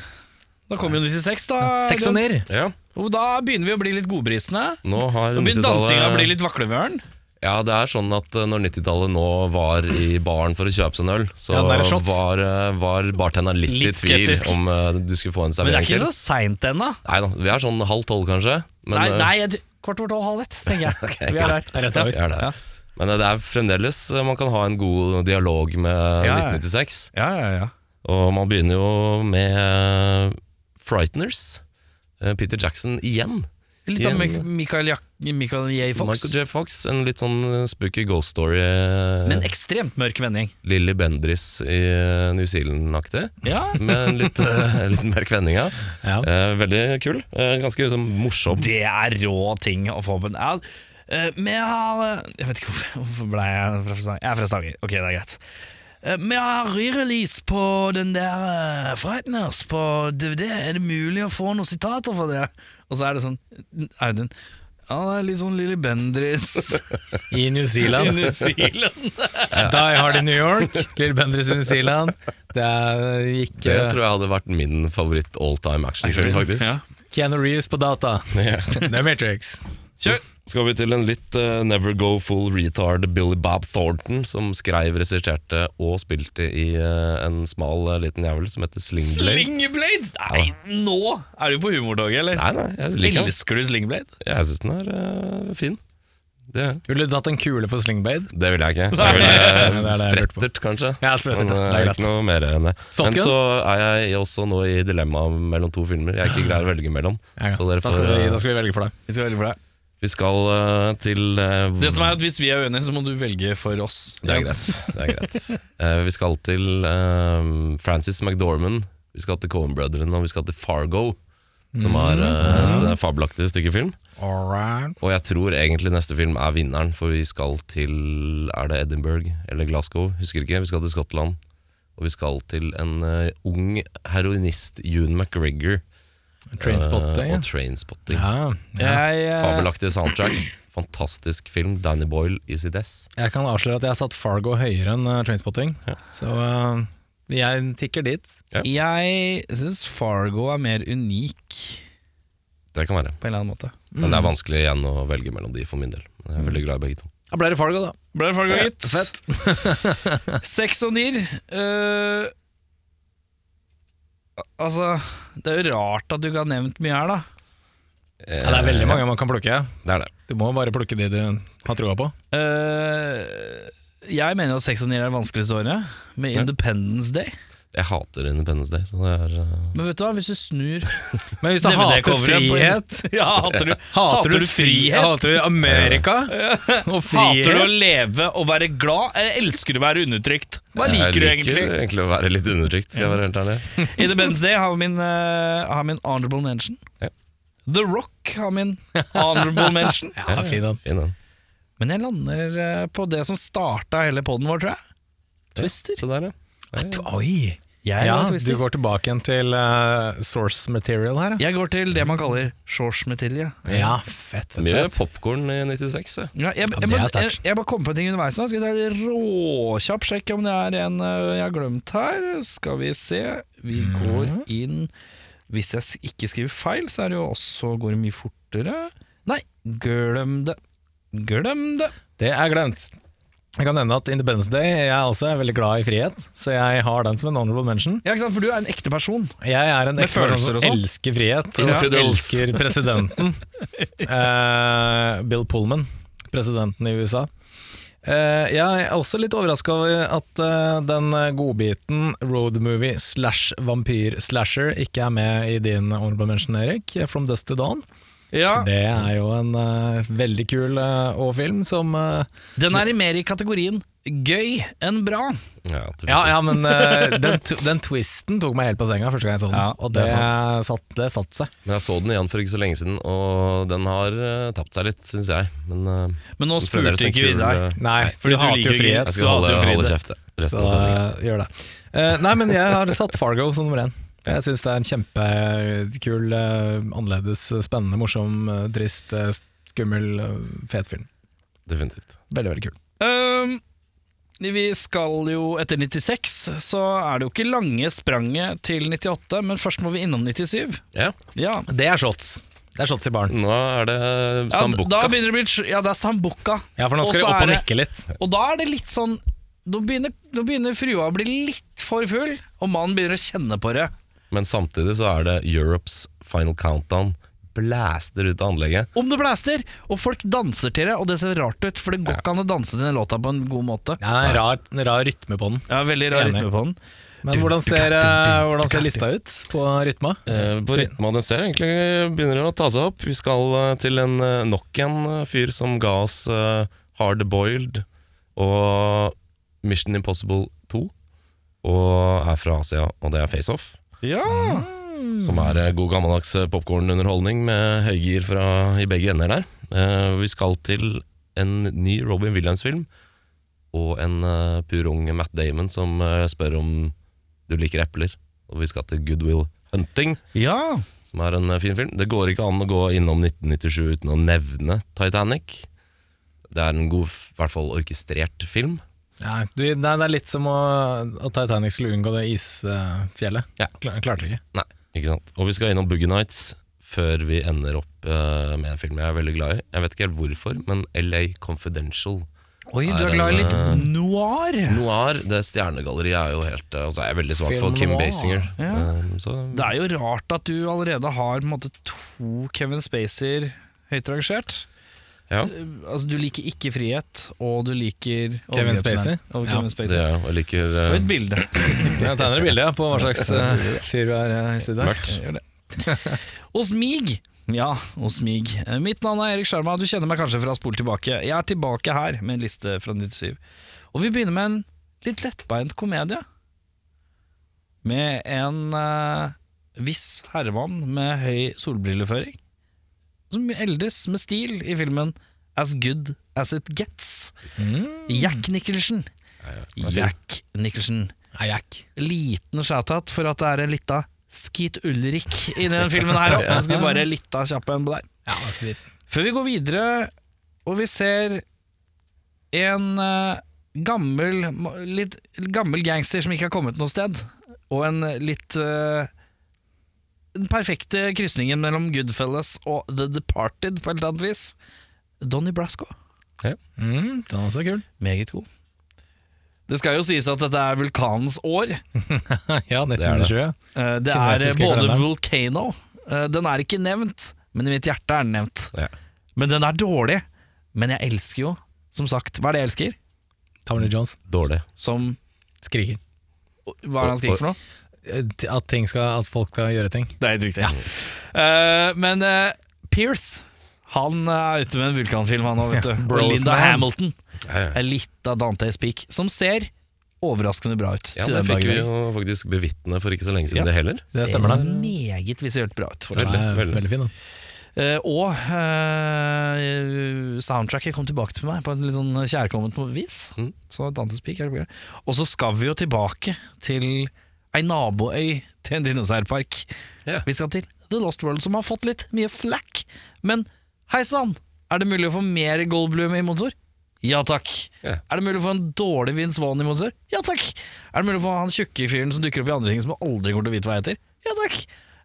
S1: Da kommer jo 96, da.
S4: Sex og nir.
S2: Ja,
S1: Og da begynner vi å bli litt godbrisne.
S2: nå har
S1: Nå begynner dansinga å bli
S2: 90-tallet
S1: litt vaklevøren.
S2: Ja, det er sånn at eh, når 90-tallet nå var i baren for å kjøpe seg en øl, så
S4: Ja, det er shots.
S2: var, eh, var bartenderen litt,
S1: Litt
S2: i tvil
S1: skeptisk.
S2: om eh, du skulle få en
S1: Men det er
S2: servering
S1: ikke
S2: til.
S1: så seint ennå.
S2: Nei da, vi er sånn halv tolv kanskje. Men,
S1: Nei,
S2: eh,
S1: nei jeg, kvart over tolv, halv ett, tenker jeg. Vi er der.
S4: Rett over.
S2: vi er der.
S1: Ja.
S2: Men eh, det er fremdeles eh, Man kan ha en god dialog med
S1: Ja, ja.
S2: 1996.
S1: Ja, ja, ja.
S2: Og man begynner jo med eh, Frighteners. eh, Peter Jackson igjen.
S1: Litt av
S2: Igjen.
S1: Michael, Jak Michael J. Fox.
S2: Michael J. Fox. En litt sånn eh, spooky ghost story. eh,
S1: Men ekstremt mørk vending.
S2: Lilly Bendris i eh, New Zealand-aktig.
S1: Ja,
S2: Med litt, eh, litt mer kvenninga.
S4: Ja.
S2: Eh, veldig kul. Eh, ganske sånn morsom.
S1: det er rå ting å få på en ad. Eh, Men jeg har eh, Jeg vet ikke hvorfor- hvorfor ble jeg fra Stavanger. Jeg er fra Stavanger, ok, det er greit. Eh, Men jeg har re-release på den der eh, Frighteners på DVD. Er det mulig å få noen sitater fra det? Og så er det sånn Audun Ja, det er litt sånn Lilly Bendriss
S4: I New
S1: i
S4: Zealand.
S1: New Zealand.
S4: Die Hard i New York. Lill Bendriss i New Zealand. Det er- gikk
S2: Det
S4: eh,
S2: tror jeg hadde vært min favoritt all time actionfilm, faktisk.
S1: Ja.
S4: Keanu Reeves på data.
S2: Ja.
S4: The Matrix.
S1: Kjør!
S2: Skal vi til en litt eh, never go full retard Billy Bob Thornton, som skrev, regisserte og spilte i eh, en smal eh, liten jævel som heter Slingblade.
S1: Slingblade! Nei, nå er du på humortoget, eller?
S2: Nei, nei, jeg liker den.
S1: Elsker du Slingblade?
S2: Jeg syns den er eh, fin. Det,
S4: Ville du tatt en kule for slingbade?
S2: det vil jeg ikke.
S1: Nei.
S2: Jeg vil,
S4: Nei,
S2: eh,
S4: det er det jeg lurte på.
S2: sprettert, kanskje.
S4: Ja, sprettert,
S2: Men,
S4: ja.
S2: eh,
S4: Det er greit.
S2: ikke noe mer enn det.
S4: Softgun?
S2: Men så er jeg også nå i dilemmaet mellom to filmer jeg ikke greier å velge mellom. Så dere
S4: Ah. da, skal
S2: får
S4: vi,
S2: eh,
S4: da skal vi velge for deg.
S1: Vi skal velge for deg.
S2: Vi skal eh, til eh,
S1: Det som er at Hvis vi er uenige, så må du velge for oss.
S2: Det er greit. Det er greit. Eh, vi skal til eh, Francis McDormand, vi skal til Coen Brødrene og vi skal til Fargo. Som
S4: Mm.
S2: er eh, et eh, fabelaktig stykke film.
S4: Alright.
S2: Og jeg tror egentlig neste film er vinneren, for vi skal til Er det Edinburgh eller Glasgow? Husker ikke. Vi skal til Skottland. Og vi skal til en eh, ung heroinist, Ewan McGregor.
S4: Trainspotting.
S2: eh,
S4: ja.
S2: og Trainspotting.
S4: Ja, ja.
S1: Jeg, eh,
S2: Fabelaktig soundtrack. Fantastisk film. Danny Boyle i sitt ess.
S4: Jeg kan avsløre at jeg har satt Fargo høyere enn eh, Trainspotting. Så eh, jeg tikker dit.
S1: jeg syns Fargo er mer unik
S2: Det kan være.
S1: på en eller annen måte.
S2: Men
S4: Mm.
S2: det er vanskelig igjen å velge mellom de for min del. Men jeg er veldig glad i begge to.
S4: Da ble det Fargo, da.
S1: Ble det Fargo, gitt?
S4: Fett.
S1: Sex og nier. eh, altså Det er jo rart at du ikke har nevnt mye her, da.
S4: Ja, det er veldig mange man kan plukke.
S2: Eh, Det er det.
S4: Du må bare plukke de du har troa på.
S1: Eh, jeg mener at sex og nier er det vanskeligste året, med Independence Day.
S2: Jeg hater Independence Day, så det er eh,
S1: Men vet du hva, hvis du snur
S4: Men hvis du
S1: DVD-coveret
S4: hater
S1: på-
S4: frihet
S1: ja, hater, du,
S4: Hater du frihet?
S1: frihet?
S4: Hater du Amerika?
S1: Hater du å
S4: Og frihet?
S1: leve og være glad? Eller elsker du å være undertrykt? Hva
S2: jeg
S1: liker du
S2: liker
S1: egentlig?
S2: å være litt undertrykt, skal jeg være helt ærlig.
S1: Independence Day har min, eh, har min honorable mention.
S2: Ja.
S1: The Rock har min honorable mention.
S4: Ja, fin den.
S2: Fin, den.
S1: Men jeg lander eh, på det som starta hele poden vår, tror jeg. Twister.
S2: Så der, ja.
S4: Oi!
S1: Jeg,
S4: Ja,
S1: går
S4: du
S1: Twister.
S4: går tilbake igjen til eh, source material her, ja.
S1: jeg går til det man kaller shorts metilje.
S4: Ja, fett, fett,
S2: Mye
S4: fett.
S2: popkorn i 96, jeg.
S1: Ja, jeg, jeg,
S4: det er
S1: jeg, jeg,
S4: sterkt.
S1: jeg bare kom på en ting underveis nå. Skal jeg ta en råkjapp sjekk om det er en øh, jeg har glemt her? Skal vi se. Vi
S4: Mhm.
S1: går inn Hvis jeg s- ikke skriver feil, så er det jo også går det mye fortere. Nei, glem det. Glem det.
S4: Det er glemt. Jeg kan nevne at Independence Day Jeg er også veldig glad i frihet, så jeg har den som en honorable mention.
S1: Ja, ikke sant, for du er en ekte person.
S4: Jeg er en
S1: Med
S4: ekte person
S1: følelser
S4: som
S1: og sånn.
S4: elsker frihet.
S2: Ja.
S4: Og
S2: Infidels.
S4: elsker presidenten. Eh, Bill Pullman, presidenten i USA. Eh, jeg er også litt overraska over at eh, den godbiten roadmovie slash vampyr slasher ikke er med i din honorable mention, Erik. From Dust to Dawn.
S1: Ja,
S4: Det er jo en eh, veldig kul eh, og film som eh,
S1: Den er i mer i kategorien gøy enn bra.
S2: Ja, definitivt.
S4: Ja, ja, men eh, den, t- den twisten tok meg helt på senga første gang jeg så den,
S1: Ja,
S4: og
S1: det
S4: det,
S1: er
S4: satt, det satt seg.
S2: Men jeg så den igjen for ikke så lenge siden, og den har eh, tapt seg litt, syns jeg. Men eh,
S1: Men nå
S2: den
S1: spurte
S2: fremdeles en
S1: ikke vi
S2: kul,
S1: deg.
S2: eh,
S4: Nei,
S1: Fordi
S4: for du
S1: du
S4: hater
S1: liker
S4: jo
S1: ikke-
S4: frihet.
S2: Jeg
S1: Så
S2: skal holde,
S1: hater jo
S2: holde
S1: Fride.
S2: kjeft jeg, resten
S4: Så
S2: av sendingen.
S4: eh, gjør det. Eh, nei, men jeg har satt Fargo som nummer én. Jeg syns det er en kjempekul, eh, annerledes, spennende, morsom, eh, trist, eh, skummel, eh, fet film.
S2: Definitivt.
S4: Veldig, veldig kul.
S1: Ehm, vi skal jo etter 96, så er det jo ikke lange spranget til 98, men først må vi innom 97.
S2: Ja,
S1: Ja.
S4: Det er shots. Det er shots i baren.
S2: nå er det eh,
S1: Ja, d-
S2: Sambuca.
S1: Da begynner det å bli tr- Ja, det er Sambuca.
S4: Ja, for nå
S1: Og
S4: skal
S1: så
S4: vi
S1: er
S4: opp og
S1: det-
S4: nikke litt.
S1: Og da er det litt sånn Nå begynner, nå begynner frua å bli litt for full, og mannen begynner å kjenne på det.
S2: Men samtidig så er det Europes final countdown. Blaster ut av anlegget.
S1: Om det blæster, og folk danser til det, og det ser rart ut, for det går ikke an å danse til den låta på en god måte.
S4: Ja, det er en rar, en rar rytme på den.
S1: Ja, veldig rar
S4: Enig.
S1: rytme på den.
S4: Men hvordan ser, eh, hvordan ser lista ut på rytma?
S2: Eh, på rytma den ser egentlig begynner det å ta seg opp. Vi skal eh, til en, eh, nok en eh, fyr som ga oss eh, Hard Boiled og Mission Impossible 2. Og er fra Asia, og det er Face Off.
S1: Ja,
S2: Som er eh, god gammeldags popkornunderholdning med høygir fra i begge ender der. Eh, Vi skal til en ny Robin Williams-film og en eh, pur ung Matt Damon som eh, spør om du liker epler. Og vi skal til Goodwill Hunting,
S1: ja.
S2: som er en eh, fin film. Det går ikke an å gå innom 1997 uten å nevne Titanic. Det er en god, i hvert fall orkestrert film.
S4: Nei, du, nei, det er litt som å, at Titanic skulle unngå det isfjellet.
S2: Ja.
S4: Kla- Klarte ikke.
S2: Nei, ikke sant Og vi skal innom Boogie Nights Før vi ender opp eh, med en film jeg er veldig glad i Jeg vet ikke helt hvorfor, men LA Confidential
S1: Oi, du
S2: Er
S1: er glad i
S2: den,
S1: litt
S2: eh,
S1: noir.
S2: Noir, det stjernegalleriet er jo helt eh, Og så er jeg veldig svak
S4: Film
S2: for Kim
S4: noir.
S2: Basinger
S1: Ja.
S2: Eh, Så
S1: Det er jo rart at du allerede har på en måte, to Kevin Spacer høyt rangert.
S2: ja,
S1: Altså, du liker ikke frihet, og du liker
S4: Kevin
S1: overgrepsmenn.
S4: Spacey?
S1: Og
S4: Ja.
S1: Kevin
S2: det
S1: Spacey.
S2: er jo Jeg liker
S1: Og
S2: eh,
S1: et bilde.
S4: Jeg tegner et bilde ja, på hva slags eh, fyr du er eh, i studio. her.
S2: mørkt
S1: Jeg gjør det. Hos mig ja, hos mig. Eh, Mitt navn er Erik Sjarma, du kjenner meg kanskje fra Spol tilbake. Jeg er tilbake her med en liste fra 97. Og vi begynner med en litt lettbeint komedie. Med en eh, viss herremann med høy solbrilleføring. Som eldes med stil i filmen As Good As It Gets. Jack Nicholson. Jack Nicholson
S4: Nei, jeg er ikke.
S1: liten shoutout for at det er en lita Skeet Ulrik i den filmen her òg. Jeg skal bare litta kjappe en på deg.
S4: Ja, det er fint.
S1: Før vi går videre, og vi ser en eh, gammel litt gammel gangster som ikke har kommet noe sted, og en litt eh, Den perfekte krysningen mellom Goodfellas og The Departed, på et eller annet vis. Donnie Brasco.
S4: Mm, den er også kul.
S1: Meget god. Det skal jo sies at dette er vulkanens år.
S4: Ja,
S2: er det.
S4: 1920. ja.
S1: Eh, Det er eh,
S4: Kinesiske
S1: både
S4: kalenderen.
S1: Volcano eh, Den er ikke nevnt, men i mitt hjerte er den nevnt.
S2: Ja.
S1: Men den er dårlig. Men jeg elsker jo, som sagt Hva er det jeg elsker?
S4: Tommy Lee Jones
S2: Dårlig
S1: Som
S4: skriker.
S1: Hva er det han skriker for noe?
S4: Eh, At, ting skal, at folk skal gjøre ting.
S1: Det er helt riktig. Eh, men eh, Pierce han er ute med en vulkanfilm, han òg, vet
S4: Ja,
S1: du. Og
S4: Brosnan.
S1: Linda Hamilton
S2: Ja, ja.
S1: er litt av Dante Speak, som ser overraskende bra ut.
S2: Ja,
S1: til
S2: det
S1: den
S2: fikk
S1: dagen.
S2: vi jo faktisk bevitne for ikke så lenge
S1: Ja.
S2: siden, det heller.
S4: Det stemmer,
S1: Ser
S4: det.
S1: meget visuelt bra ut.
S4: Det
S1: fortsatt.
S2: Veldig,
S4: er
S2: veldig.
S4: veldig fin, da.
S1: Eh, og eh, soundtracket kom tilbake til meg på et litt sånn kjærkomment vis.
S2: Mm.
S1: Så Dantes Peak er det bra. Og så skal vi jo tilbake til ei naboøy til en dinosaurpark.
S2: Ja.
S1: Vi skal til The Lost World, som har fått litt mye flack. Men hei sann, er det mulig å få mer Goldblum i motor? Ja takk.
S2: Ja.
S1: Er det mulig å få en dårlig Vince Vaughn i motor? Ja takk. Er det mulig å få han tjukke fyren som dukker opp i andre ting som jeg aldri kommer til å vite hva heter? Ja takk.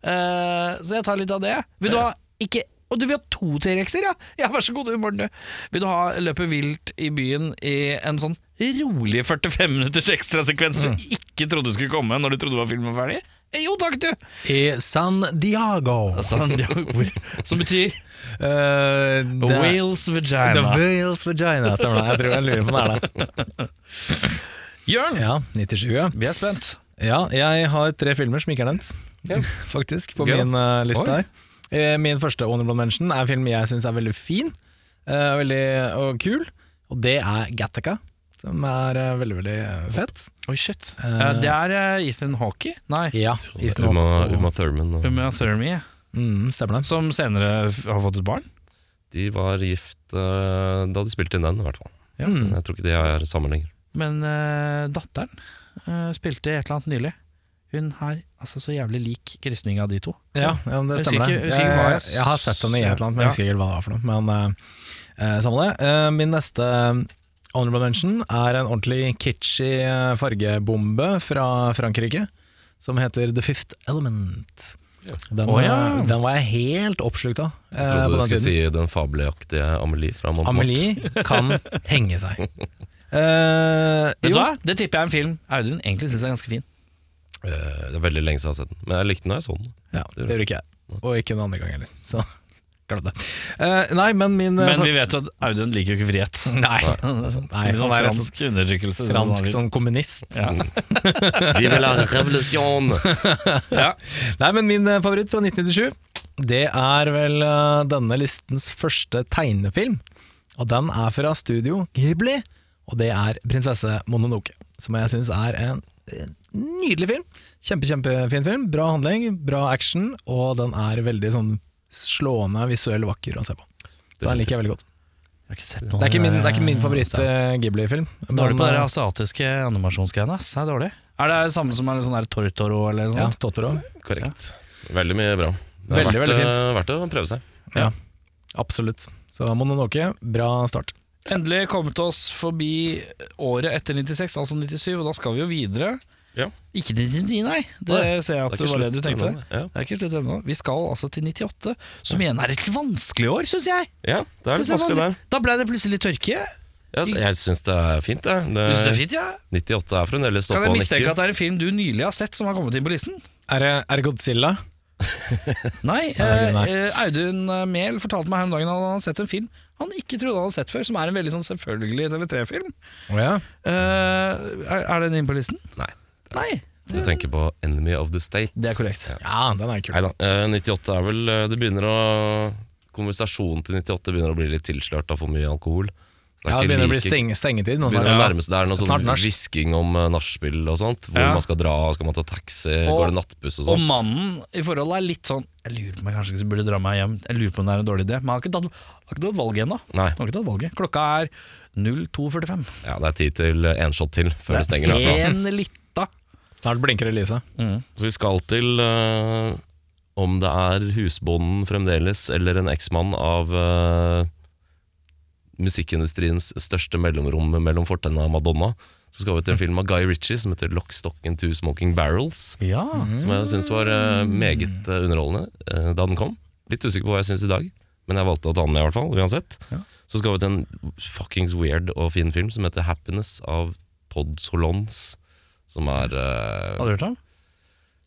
S1: Eh, så jeg tar litt av det. Vil du ha ikke Og du vil ha to T-rexer, ja? Ja, vær så god, du, Morten. du. Vil du ha løpet vilt i byen i en sånn rolig 45 minutters ekstrasekvens du ikke trodde skulle komme når du trodde var filmen ferdig? Eh, Jo takk, du!
S4: I San Diego.
S1: Altså, det er ord som betyr
S4: Eh, det er-
S1: Whales
S4: The
S1: vagina.
S4: Whales Vagina, stemmer det. Jeg tror jeg lurer på om det er det.
S1: Jørn,
S4: Ja, 97, ja.
S1: vi er spent.
S4: Ja, jeg har tre filmer som ikke er nevnt, faktisk, på
S2: Gøy.
S4: min eh, liste
S1: Oi.
S4: her. Eh, min første honorable mention er en film jeg syns er veldig fin eh, og veldig, og kul, og det er Gattaca, som er eh, veldig, veldig eh, fett.
S1: Oi, shit.
S4: Eh,
S1: Eh, det er eh, Ethan Hawkey, nei,
S4: Ja, Ethan
S2: Uma,
S4: Hawke og-
S2: Uma Thurman og
S1: Uma Thurmy,
S4: Mm, stemmer det.
S1: som senere f- har fått et barn.
S2: De var gift eh, da de spilte inn den, i hvert fall.
S4: Mm.
S2: Jeg tror ikke de er sammen lenger.
S1: Men eh, datteren eh, spilte et eller annet nylig. Hun har altså så jævlig lik krysning av de to.
S4: Ja, ja men det
S1: Jeg
S4: stemmer
S1: husker
S4: det.
S1: ikke- jeg
S4: Jeg,
S1: husker ikke hva
S4: jeg,
S1: jeg
S4: har sett henne i et eller annet, men jeg
S1: Ja.
S4: husker ikke helt hva det var for noe. Men eh, eh, samme det. Eh, min neste honorable mention er en ordentlig kitschy eh, fargebombe fra Frankrike, som heter The Fifth Element. Den,
S1: Å, ja.
S4: eh, den var jeg helt oppslukt av. eh,
S2: Jeg trodde
S4: på
S2: du
S4: den
S2: skulle
S4: tiden.
S2: si den fabelaktige Amelie fra Mont
S4: Amelie kan henge seg. Eh,
S1: Vet du
S4: jo,
S1: hva? Det tipper jeg er en film Audun egentlig syns er ganske fin.
S2: Eh, det er veldig lenge siden jeg har sett den, men jeg likte den da jeg så den.
S4: ja, det gjorde ikke jeg. Og ikke den andre gang heller. Så glem det. Eh, nei, men min eh,
S1: Men vi vet jo at Audun liker jo ikke frihet.
S4: Nei,
S1: Nei,
S4: han er en
S1: fransk undertrykkelse. som han
S4: fransk
S1: har
S4: sånn kommunist.
S1: blitt. ja.
S2: Vi vil ha revolusjon!
S1: ja.
S4: Nei, men min eh, favoritt fra 1997, det er vel eh, denne listens første tegnefilm. Og den er fra studio Ghibli, og det er 'Prinsesse Mononoke'. Som jeg syns er en eh, nydelig film. Kjempe, kjempefin film. Bra handling, bra action, og den er veldig sånn slående visuell vakker å se på. Så den liker jeg veldig godt.
S1: Jeg har ikke sett Eh,
S4: Det er ikke min, det er ikke min eh, favoritt-Ghibli-film.
S1: Dårlig på
S4: eh,
S1: de der asiatiske animasjonsgreiene. ass. Det er dårlig. Er det samme som er litt sånn der Tortoro eller noe
S4: Ja,
S1: sånt?
S4: Totoro.
S2: Korrekt. Veldig mye bra. Det er
S4: Veldig,
S2: verdt,
S4: veldig fint.
S2: eh, verdt å prøve seg.
S4: Absolutt. Så Mononoke, bra start.
S1: Endelig kommet oss forbi året etter 96, altså 97, og da skal vi jo videre.
S2: Ja.
S1: Ikke til 99, nei. Det
S2: Nei,
S1: ser jeg at det
S2: Det er ikke
S1: var det
S2: slutt
S1: du tenkte.
S2: ennå. Ja.
S1: Det er ikke slutt ennå. Vi skal altså til 98, som igjen er et litt vanskelig år, syns jeg.
S2: ja, det er litt vanskelig der.
S1: Da ble det plutselig litt tørke.
S2: Ja, så jeg syns det er fint, det.
S1: Du synes det er
S2: det
S1: fint, ja?
S2: 98 er fremdeles
S1: Kan
S2: oppe
S1: jeg
S2: og
S1: mistenke at
S2: nikker.
S1: det er en film du nylig har sett som har kommet inn på listen?
S4: Er det, er det Godzilla?
S1: Nei.
S4: Nei, nei.
S1: eh, eh, Audun eh, Mehl fortalte meg her om dagen at han hadde sett en film han ikke trodde han hadde sett før, som er en veldig sånn selvfølgelig TV3-film.
S4: Å ja.
S1: er, er den inne på listen?
S2: Nei.
S1: Nei,
S2: Du tenker på Enemy of the State.
S1: det er korrekt.
S4: ja, den er kul.
S2: Nei da. 98 er vel eh, Det begynner å Konversasjonen til 98 begynner å bli litt tilslørt av for mye alkohol. Så
S4: Ja, det
S2: ikke
S4: begynner å bli
S2: like-
S4: steng stengetid. Nå,
S2: begynner å
S4: snart.
S2: nærme seg. Det er noe
S4: Snart
S2: sånn
S4: nach.
S2: hvisking om eh, nachspiel og sånt. Hvor
S1: Ja.
S2: man skal dra, skal man ta taxi,
S1: Og-
S2: går det nattbuss og
S1: Og
S2: sånn.
S1: mannen i forholdet er litt sånn Jeg lurer på om jeg kanskje ikke burde dra meg hjem. Jeg lurer på om det er en dårlig idé. Men han har ikke tatt, har ikke tatt valget ennå.
S2: Nei.
S1: Han har ikke tatt valget. Klokka er 02.45.
S2: Ja, det er tid til én shot til før det stenger. Mm.
S1: Det er
S2: herfra.
S1: en lita.
S4: snart blinker det lyset.
S2: Så vi skal til eh, om det er husbonden fremdeles, eller en eksmann av eh, musikkindustriens største mellomrom mellom fortennene av Madonna. Så skal vi til en film av Guy Ritchie som heter 'Lock, Stock and Two Smoking Barrels'.
S1: Ja.
S2: Som jeg syns var eh, meget eh, underholdende eh, da den kom. Litt usikker på hva jeg syns i dag, men jeg valgte å ta den med i hvert fall, uansett.
S1: Ja.
S2: Så skal vi til en fuckings weird og fin film som heter 'Happiness' av Todd Solons. Som er eh,
S1: Har du hørt om?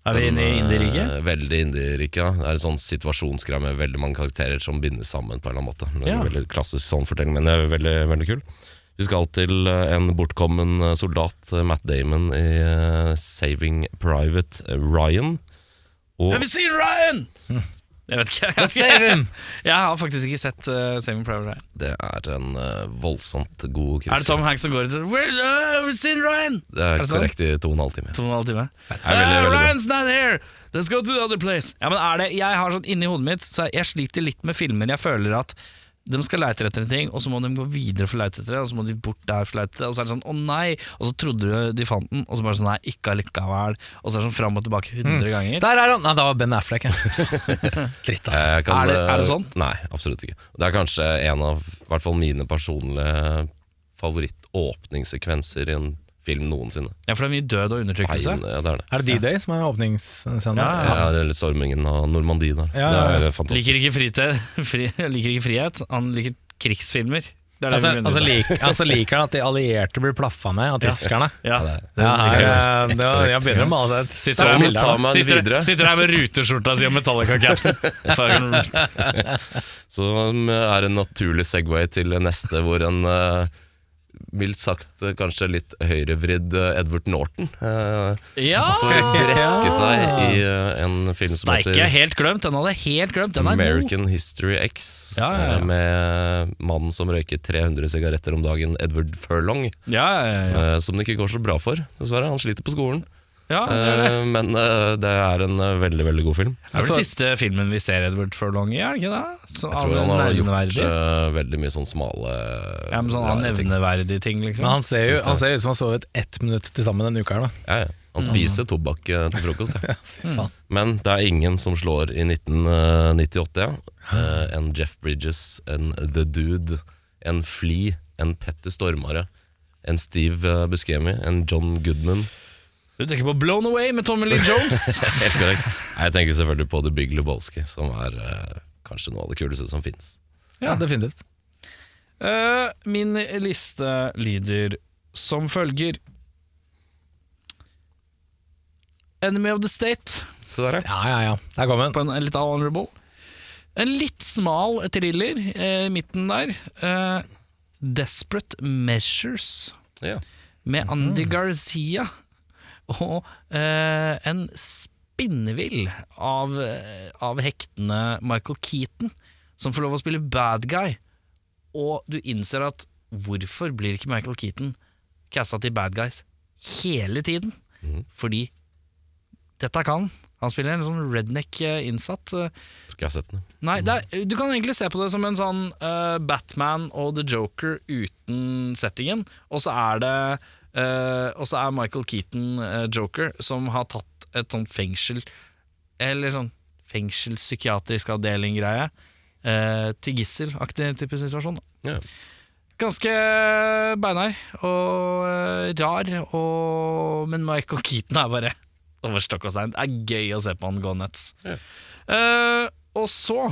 S1: Er vi inne i
S2: den, eh,
S1: Indierriket?
S2: Veldig indierike. ja. Det er en sånn situasjonsgreie med veldig mange karakterer som bindes sammen på en eller annen måte. Det er
S1: Ja.
S2: en veldig klassisk sånn fortelling, men det er veldig, veldig kul. Vi skal til eh, en bortkommen eh, soldat, eh, Matt Damon, i eh, Saving Private Ryan. Og
S1: Have you seen Ryan? Hm. Jeg vet ikke.
S4: Save him!
S1: Jeg har faktisk ikke sett eh, Saving Private Ryan.
S2: det er en eh, voldsomt god
S1: Er det Tom
S2: krigsfilm.
S1: Hanks som går ut og Where, uh, Have you seen Ryan?
S2: Det er
S1: det sant?
S2: korrekt i to og en halv time.
S1: To og en halv time.
S2: er veldig,
S1: "Ah,
S2: veldig bra.
S1: Ryan's not here! Let's go to the other place. Ja, men er det, jeg har sånn inni hodet mitt så Jeg sliter litt med filmer jeg føler at de skal leite etter en ting, og så må de gå videre for å leite etter det, og så må de bort der for å leite etter det, og så er det sånn å nei, og så trodde du de fant den, og så bare sånn nei, ikke allikevel, og så er det sånn fram og tilbake 100
S2: Mm.
S1: ganger.
S4: Der er han! Nei, det var Ben Affleck, ja. Dritt, ass.
S2: Jeg kan,
S1: Er det- er det
S2: eh,
S1: sånn?
S2: Nei, absolutt ikke. Det er kanskje en av i hvert fall mine personlige favorittåpningssekvenser i en film noensinne.
S1: Ja, for det er mye død og undertrykkelse.
S2: Veien, ja, det er det.
S4: Er det D-Day som er åpningsscenen?
S1: Ja,
S2: Ja, eller stormingen av Normandie der.
S4: Ja, ja, ja.
S2: Det er fantastisk.
S1: Liker ikke, frihet, fri, liker ikke frihet, han liker krigsfilmer. Det er det
S4: Altså,
S1: vi finner
S4: altså,
S1: ut av.
S4: lik, altså liker han at de allierte blir plaffa ned av tyskerne.
S1: Ja.
S2: det er-
S4: Ja, her,
S1: liker jeg.
S4: eh, det var, jeg begynner å male seg et
S1: Sitter
S4: sterkt
S1: her, med,
S4: bilde av
S2: Ta meg
S1: sitter,
S2: videre.
S1: sitter her med ruteskjorta si og Metallica-capsen. Fucking-
S2: Som um, er en naturlig segway til neste, hvor en eh, mildt sagt eh, kanskje litt høyrevridd eh, Edward Norton eh,
S1: Ja!
S2: får breske seg i eh, en film som
S1: Steike, jeg
S2: heter
S1: helt glemt. Den hadde jeg helt glemt. Den er god.
S2: American History X,
S1: Ja, ja, ja.
S2: eh, med mannen som røyker 300 sigaretter om dagen, Edward Furlong,
S1: Ja, ja, ja.
S2: eh, som det ikke går så bra for, dessverre. Han sliter på skolen.
S1: ja. det er det.
S2: Eh, Men eh, det er en eh, veldig, veldig god film.
S1: Det er vel siste filmen vi ser Edward Furlong i, er det ikke det? Så,
S2: Jeg tror han har gjort eh, veldig mye sånn smale
S1: ja, men sånn annen
S2: rare ting.
S1: nevneverdige ting, liksom.
S4: Men han ser jo han ser ut som han har sovet ett minutt til sammen denne uka. her da
S2: Ja, ja. Han spiser tobakk eh, til frokost. Ja.
S4: faen.
S2: Men det er ingen som slår i 1998 ja. Eh, en Jeff Bridges, en The Dude, en Flea, en Petter Stormare, en Steve eh, Buscemi, en John Goodman.
S1: Du tenker på Blown Away med Tommy Lee Jones.
S2: Helt korrekt. Nei, Jeg tenker selvfølgelig på The Big Lebowski, som er eh, kanskje noe av det kuleste som fins.
S4: Ja, definitivt.
S1: Eh, min liste lyder som følger Enemy of the State
S2: Så der, ja.
S4: Ja, ja, ja. Der kom den.
S1: på en litt honorable. En litt smal thriller eh, i midten der. Eh, Desperate Measures
S2: Ja.
S1: med Andy Garcia. Og eh, en spinnevill av, eh, av hektene Michael Keaton, som får lov å spille bad guy. Og du innser at hvorfor blir ikke Michael Keaton casta til bad guys hele tiden? Fordi dette kan han. Han spiller en sånn redneck eh, innsatt. eh,
S2: Tror ikke jeg har sett den.
S1: Nei, det er, du kan egentlig se på det som en sånn eh, Batman og The Joker uten settingen, og så er det eh, Og så er Michael Keaton eh, Joker, som har tatt et sånt fengsel Eller sånn fengselspsykiatrisk avdeling-greie. eh, til gisselaktig type situasjon.
S2: Ja.
S1: Ganske beinhard og eh, rar, og, men Michael Keaton er bare over stokk og stein. Det er gøy å se på han gå nuts.
S2: Ja.
S1: Eh, og så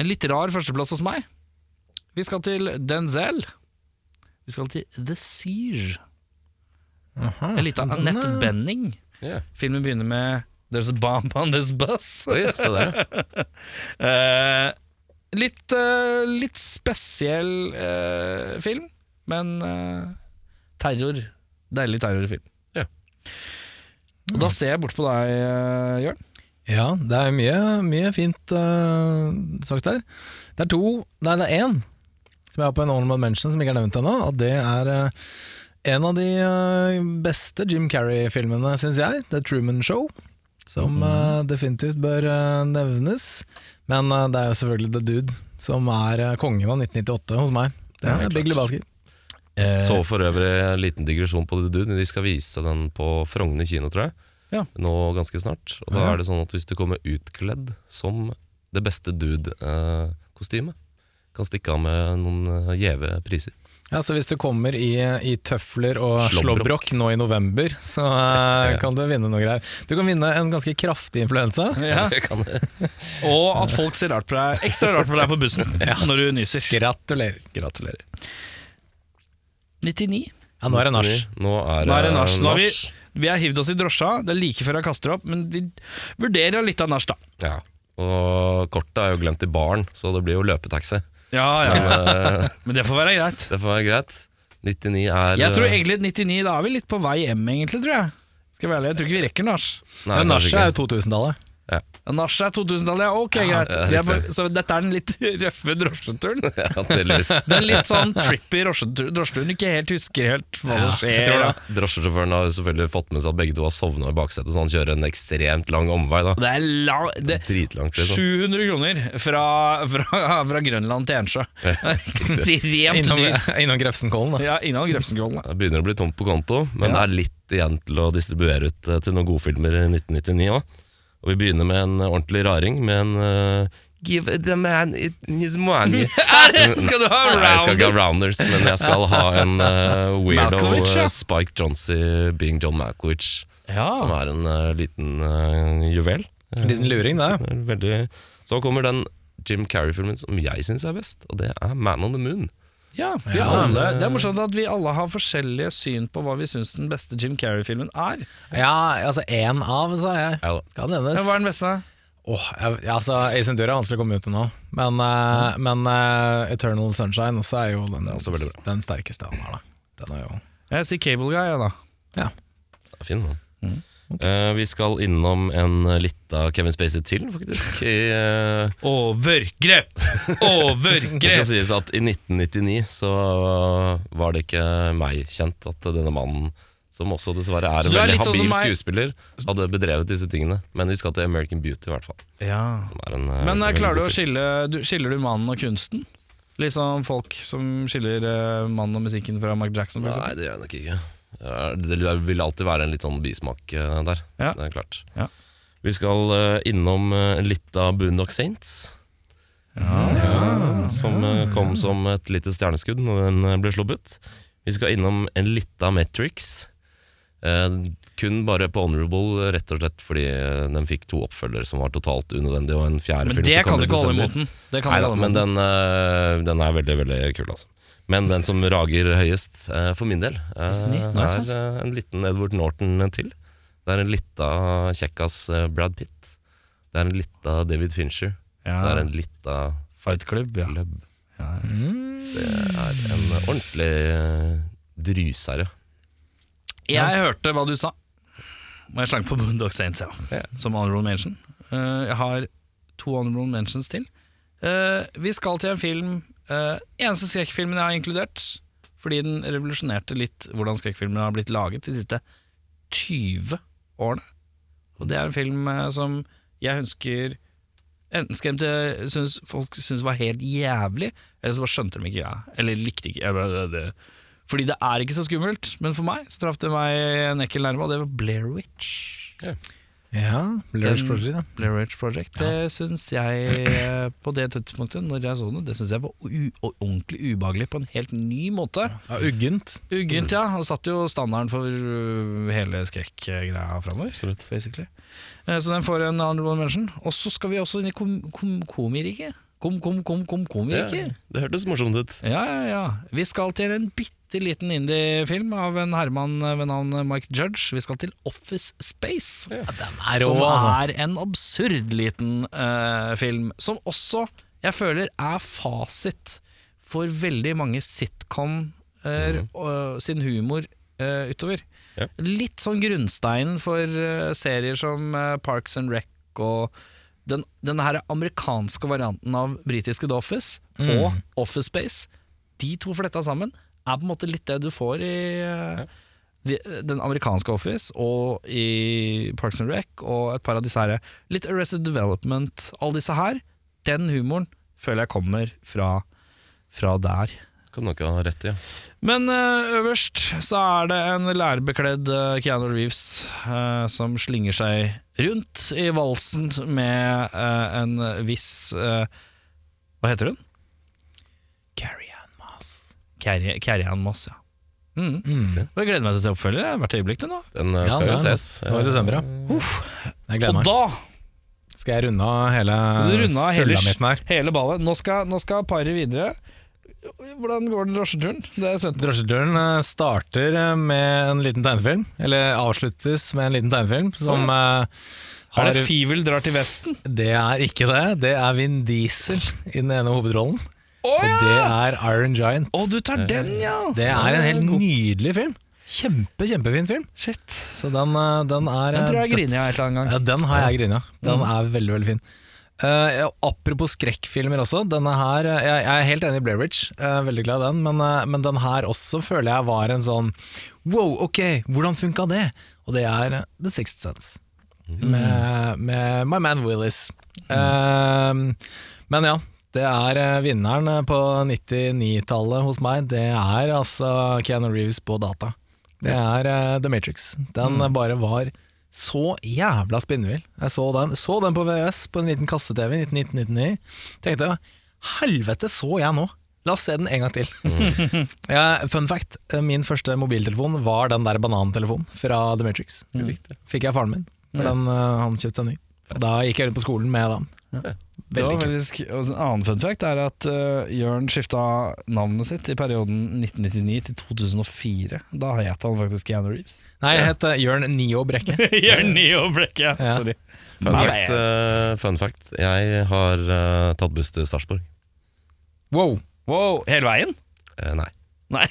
S1: En litt rar førsteplass hos meg. Vi skal til Denzel. Vi skal til The Siege. En liten Anette Benning.
S2: Ja.
S1: Filmen begynner med There's a bomb on this bus.
S2: Oi, se der, ja.
S1: Eh, litt, eh, litt spesiell eh, film, men eh, terror. Deilig terrorfilm.
S2: Ja.
S1: Og da ser jeg bort på deg, eh, Jørn.
S4: Ja, det er mye, mye fint eh, sagt der. Det er to Nei, det er én som jeg har på en honorable mention som ikke er nevnt ennå, og det er eh, en av de eh, beste Jim Carrey-filmene, syns jeg. The Truman Show, som eh, definitivt bør eh, nevnes. Men eh, det er jo selvfølgelig The Dude, som er eh, kongen av 1998 hos meg. Det
S2: Ja,
S4: er
S2: helt
S4: Big
S2: klart.
S4: Lebowski.
S1: Eh,
S2: Så for øvrig en liten digresjon på det, du. De skal vise den på Frogner kino, tror jeg.
S1: Ja.
S2: Nå ganske snart. Og da er det sånn at hvis du kommer utkledd som det beste dude-kostymet, kan stikke av med noen eh, gjeve priser.
S4: Ja, så Hvis du kommer i, i tøfler og
S2: Slåbrok.
S4: slåbrok nå i november, så eh, kan du vinne noe greier. Du kan vinne en ganske kraftig influensa.
S2: Kan det.
S1: Og at folk ser rart på deg ekstra rart på deg på bussen når du nyser.
S4: Gratulerer.
S1: Gratulerer. 99.
S4: Ja, nå er det nach.
S2: Nå er
S1: Nå er det
S2: eh,
S1: nach. Nå har vi,
S2: nach.
S1: vi har hivd oss i drosja. Det er like før jeg kaster opp, men vi vurderer litt av nach, da.
S2: Ja. Og kortet er jo glemt i baren, så det blir jo løpetaxi.
S1: Ja,
S2: Men
S1: ja.
S2: eh,
S1: Men det får være greit.
S2: det får være greit. 99 er eh,
S1: Jeg tror egentlig 99, da er vi litt på vei hjem, egentlig, tror jeg. Skal jeg være ærlig, jeg tror ikke vi rekker nach.
S2: Nei,
S4: Men
S2: kanskje
S4: Nasje er
S2: ikke.
S4: jo 2000-tallet.
S1: Nach er 2000-tallet, ja. Ok, greit.
S2: ja,
S1: Vi er
S2: riktig.
S1: på- så dette er den litt røffe drosjeturen.
S2: Ja, tydeligvis.
S1: Den litt sånn trippy drosjetur- drosjeturen. Ikke helt husker helt hva som skjer. da.
S2: Drosjesjåføren har jo selvfølgelig fått med seg at begge to har sovna i baksetet, så han kjører en ekstremt lang omvei. da
S1: Det er lang det,
S2: Dritlangt. Liksom.
S1: 700 kroner fra, fra, fra Grønland til Ensjø. Ekstremt
S4: Innom,
S1: dyr.
S4: innom Grefsenkollen. da.
S1: Ja, innom Grefsenkollen. da.
S2: Det begynner å bli tomt på konto, men det er litt igjen til å distribuere ut eh, til noen godfilmer i 1999 òg. Og vi begynner med en eh, ordentlig raring med en eh, Give the man it- his money.
S1: Er det- Skal du ha
S2: Nei, jeg skal ikke ha
S1: rounders?
S2: rounders, men jeg skal ha en eh, weirdo
S1: Malkovich, ja. Ah.
S2: eh, Spike Johnsey being John Malkovich, som
S1: Ja.
S2: er en eh, liten eh, juvel.
S4: En liten luring, det.
S2: Det er Veldig. Så kommer den Jim Carrey-filmen som jeg syns er best, og det er Man on the Moon.
S1: ja vi alle, det er morsomt at vi alle har forskjellige syn på hva vi syns den beste Jim Carrey-filmen er.
S4: Ja, altså én av, sa jeg.
S2: Ja da.
S4: Skal
S1: Ja,
S4: nevnes.
S1: Hva er den beste?
S4: Åh, jeg, ja, altså, Ace Ventura er vanskelig å komme ut med nå, men, eh, men eh, Eternal Sunshine også er jo den,
S2: også veldig bra.
S4: den sterkeste han har. da. Den er jo
S1: Jeg sier Cable Guy, jeg, da.
S4: ja.
S2: Det er fin, den.
S1: Mm,
S2: Eh, vi skal innom en eh, lita Kevin Spacey til, faktisk. I, eh,
S1: Overgrep!
S2: det skal
S1: Overgrep!
S2: sies at i 1999 så var det ikke meg kjent at denne mannen, som også dessverre er
S1: Så
S2: en
S1: du er
S2: veldig
S1: litt sånn
S2: habil
S1: som meg?
S2: skuespiller, hadde bedrevet disse tingene. Men vi skal til American Beauty, i hvert fall.
S1: Ja.
S2: Som er en, eh,
S1: Men eh,
S2: veldig
S1: klarer du
S2: god
S1: å
S2: film.
S1: skille du, Skiller du mannen og kunsten? Litt sånn folk som skiller eh, mannen og musikken fra Mark Jackson, for eksempel.
S2: Nei, det gjør jeg nok ikke. Ja, Det vil alltid være en litt sånn bismak eh, der.
S1: Ja.
S2: Det er klart.
S1: Ja.
S2: Vi skal eh, innom eh, litt av Boondock Saints.
S1: Ah,
S2: Ja, som eh, kom som et lite stjerneskudd når den eh, ble sluppet. Vi skal innom en lita Matrix. Eh, kun bare på Honorable, rett og slett fordi eh, den fikk to oppfølgere som var totalt unødvendig, og en fjerde
S1: Men
S2: film
S1: det
S2: som
S1: kan du
S2: kommer i
S1: ikke holde
S2: desember.
S1: imot den. Det kan du
S2: Nei
S1: ikke
S2: da,
S1: holde
S2: men
S1: imot den.
S2: den, eh, den er veldig, veldig kul, altså. Men den som rager høyest, eh, for min del, eh,
S1: 99, nice,
S2: er eh, en liten Edward Norton til. Det er en lita kjekkas eh, Brad Pitt. Det er en lita David Fincher. Det er
S1: Ja.
S2: en lita
S1: Fight Club, ja.
S2: Club.
S1: ja.
S2: Det er en ordentlig eh, drysere.
S1: Jeg hørte hva du sa. Og jeg slang på Boondock Saints, ja.
S2: Ja.
S1: Som honorable mention. Eh, jeg har to honorable mentions til. Eh, vi skal til en film eh, Eneste skrekkfilmen jeg har inkludert, fordi den revolusjonerte litt hvordan skrekkfilmer har blitt laget de siste 20 årene. Og det er en film eh, som jeg ønsker Enten skremte synes, folk syntes var helt jævlig, eller så bare skjønte de ikke greia. Eller likte ikke eller, det- det- Fordi det er ikke så skummelt, men for meg så traff det meg en ekkel nerve, og det var Blair Witch.
S4: ja. Lurch
S1: Den-
S4: Prodigy, da.
S1: Blair Witch Project. Det syns jeg eh, på det tidspunktet, når jeg så det, det syns jeg var u og ordentlig ubehagelig på en helt ny måte.
S4: Ja, uggent.
S1: Uggent, ja. Og satte jo standarden for uh, hele skrekkgreia framover.
S2: Absolutt.
S1: Basically. Eh, Så den får en honorable mention. Og så skal vi også inn i kom kom komirriket. Kom, kom, kom, kom, komirriket.
S2: Ja, det hørtes morsomt ut.
S1: Ja, ja, ja. Vi skal til en bitte liten indie-film av en herremann ved navn Mike Judge. Vi skal til Office Space.
S4: er
S1: som
S4: rå, altså.
S1: er en absurd liten eh, film. Som også, jeg føler, er fasit for veldig mange sitcom eh, og sin humor eh, utover.
S2: Ja.
S1: Litt sånn grunnsteinen for eh, serier som eh, Parks and Rec og den, denne her amerikanske varianten av britiske The Office og Office Space, de to fletta sammen, er på en måte litt det du får i eh, de, den amerikanske Office og i Parks and Rec og et par av disse her. Litt Arrested Development, alle disse her. Den humoren føler jeg kommer fra, fra der.
S2: Kan nok ha rett i. Ja.
S1: Men eh, øverst så er det en lærbekledd eh, Keanu Reeves eh, som slynger seg rundt i valsen med eh, en viss eh, Hva heter hun?
S4: Carrie Ann Moss.
S1: Carrie Carrie Ann Moss, ja. Mm.
S4: Mm.
S1: Og Jeg gleder meg til å se oppfølger hvert øyeblikk. til Nå.
S2: Den eh,
S4: Ja,
S2: skal
S4: det
S2: jo
S4: er
S2: ses.
S4: Nå i desember, ja. Jeg gleder
S1: Og
S4: meg.
S1: da
S4: Skal jeg runde av hele
S1: Skal du runde av hele,
S4: sulamitten her?
S1: hele ballet? Nå skal, nå skal paret videre. Hvordan går den drosjeturen? Det er jeg spent på.
S4: Drosjeturen eh, starter eh, med en liten tegnefilm, eller avsluttes med en liten tegnefilm, som eh,
S1: Er
S4: har
S1: det Fivel drar til Vesten?
S4: Det er ikke det. Det er Vin Diesel i den ene hovedrollen.
S1: Å
S4: Og det er Iron Giant.
S1: Å, du tar den, ja!
S4: Det er en helt nydelig film. Kjempe, kjempefin film.
S1: Shit.
S4: Så den, eh, den er
S1: Den
S4: eh,
S1: tror jeg griner jeg
S4: døds-
S1: et eller annet gang. Mm.
S4: Ja, den har jeg grinet. Den er veldig, veldig fin. Eh, ja, apropos skrekkfilmer også, denne her eh, Jeg, jeg er helt enig i Blairwich, uh, veldig glad i den, men, eh, men den her også føler jeg var en sånn Wow, ok, hvordan funka det? Og det er eh, The Sixth Sense, med, med My Man Willis. Eh, men ja, det er eh, vinneren eh, på 99-tallet hos meg. Det er altså Keanu Reeves på data. Det er eh, The Matrix. Den eh, bare var så jævla spinnvill. Jeg så den, så den på VØS på en liten kasse-TV i 1999. Tenkte helvete, så jeg nå! La oss se den en gang til. Eh, fun fact, eh, min første mobiltelefon var den der banantelefonen fra The Matrix.
S1: Mm.
S4: Fikk jeg av faren min, for den, eh, han kjøpte seg ny. Og Da gikk jeg rundt på skolen med den.
S1: Det var
S4: kult.
S1: faktisk, og En annen fun fact er at uh, Jørn skifta navnet sitt i perioden 1999 til 2004. Da het han faktisk Keanu Reeves.
S4: Nei, jeg heter Jørn Nio Brekke.
S1: Jørn Nio Brekke,
S4: Ja.
S1: sorry.
S2: Fun
S1: Nei.
S2: fact, eh, fun fact. Jeg har eh, tatt buss til Sarpsborg.
S4: Wow!
S1: Wow, hele veien?
S2: Eh, nei.
S1: Nei,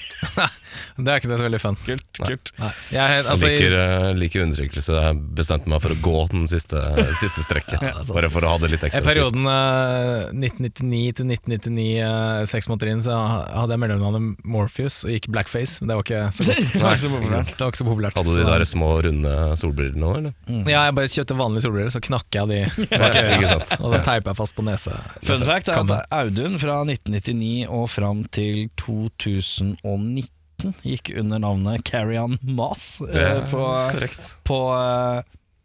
S4: Det er ikke det så veldig fun.
S1: kult.
S2: Nei.
S1: kult
S4: Nei. Jeg,
S2: Jeg
S4: altså,
S2: liker, eh, liker undertrykkelse. Jeg bestemte meg for å gå den siste, siste strekket. Bare for å ha det litt
S4: I
S2: ekstra
S4: perioden eh, 1999 til 1999, eh, seks måneder inn, så hadde jeg mellomnavnet Morpheus og gikk blackface. Men det var ikke så godt.
S1: Det var ikke så
S4: Ikke
S1: populært.
S4: sant? Det var ikke så
S2: kjipt.
S4: populært.
S2: Hadde de
S4: Så-
S2: der små, runde solbrillene nå, eller?
S1: Mm.
S4: Ja, jeg bare kjøpte vanlige solbriller, så knakka jeg de bak
S2: Ja,
S4: øya.
S2: ikke sant?
S4: Og så teipa jeg fast på nese.
S1: Fun fact er
S4: Kan-
S1: at Audun fra 1999 og fram til 2019 gikk under navnet Carrion Mas eh,
S2: Det er
S1: på, på eh,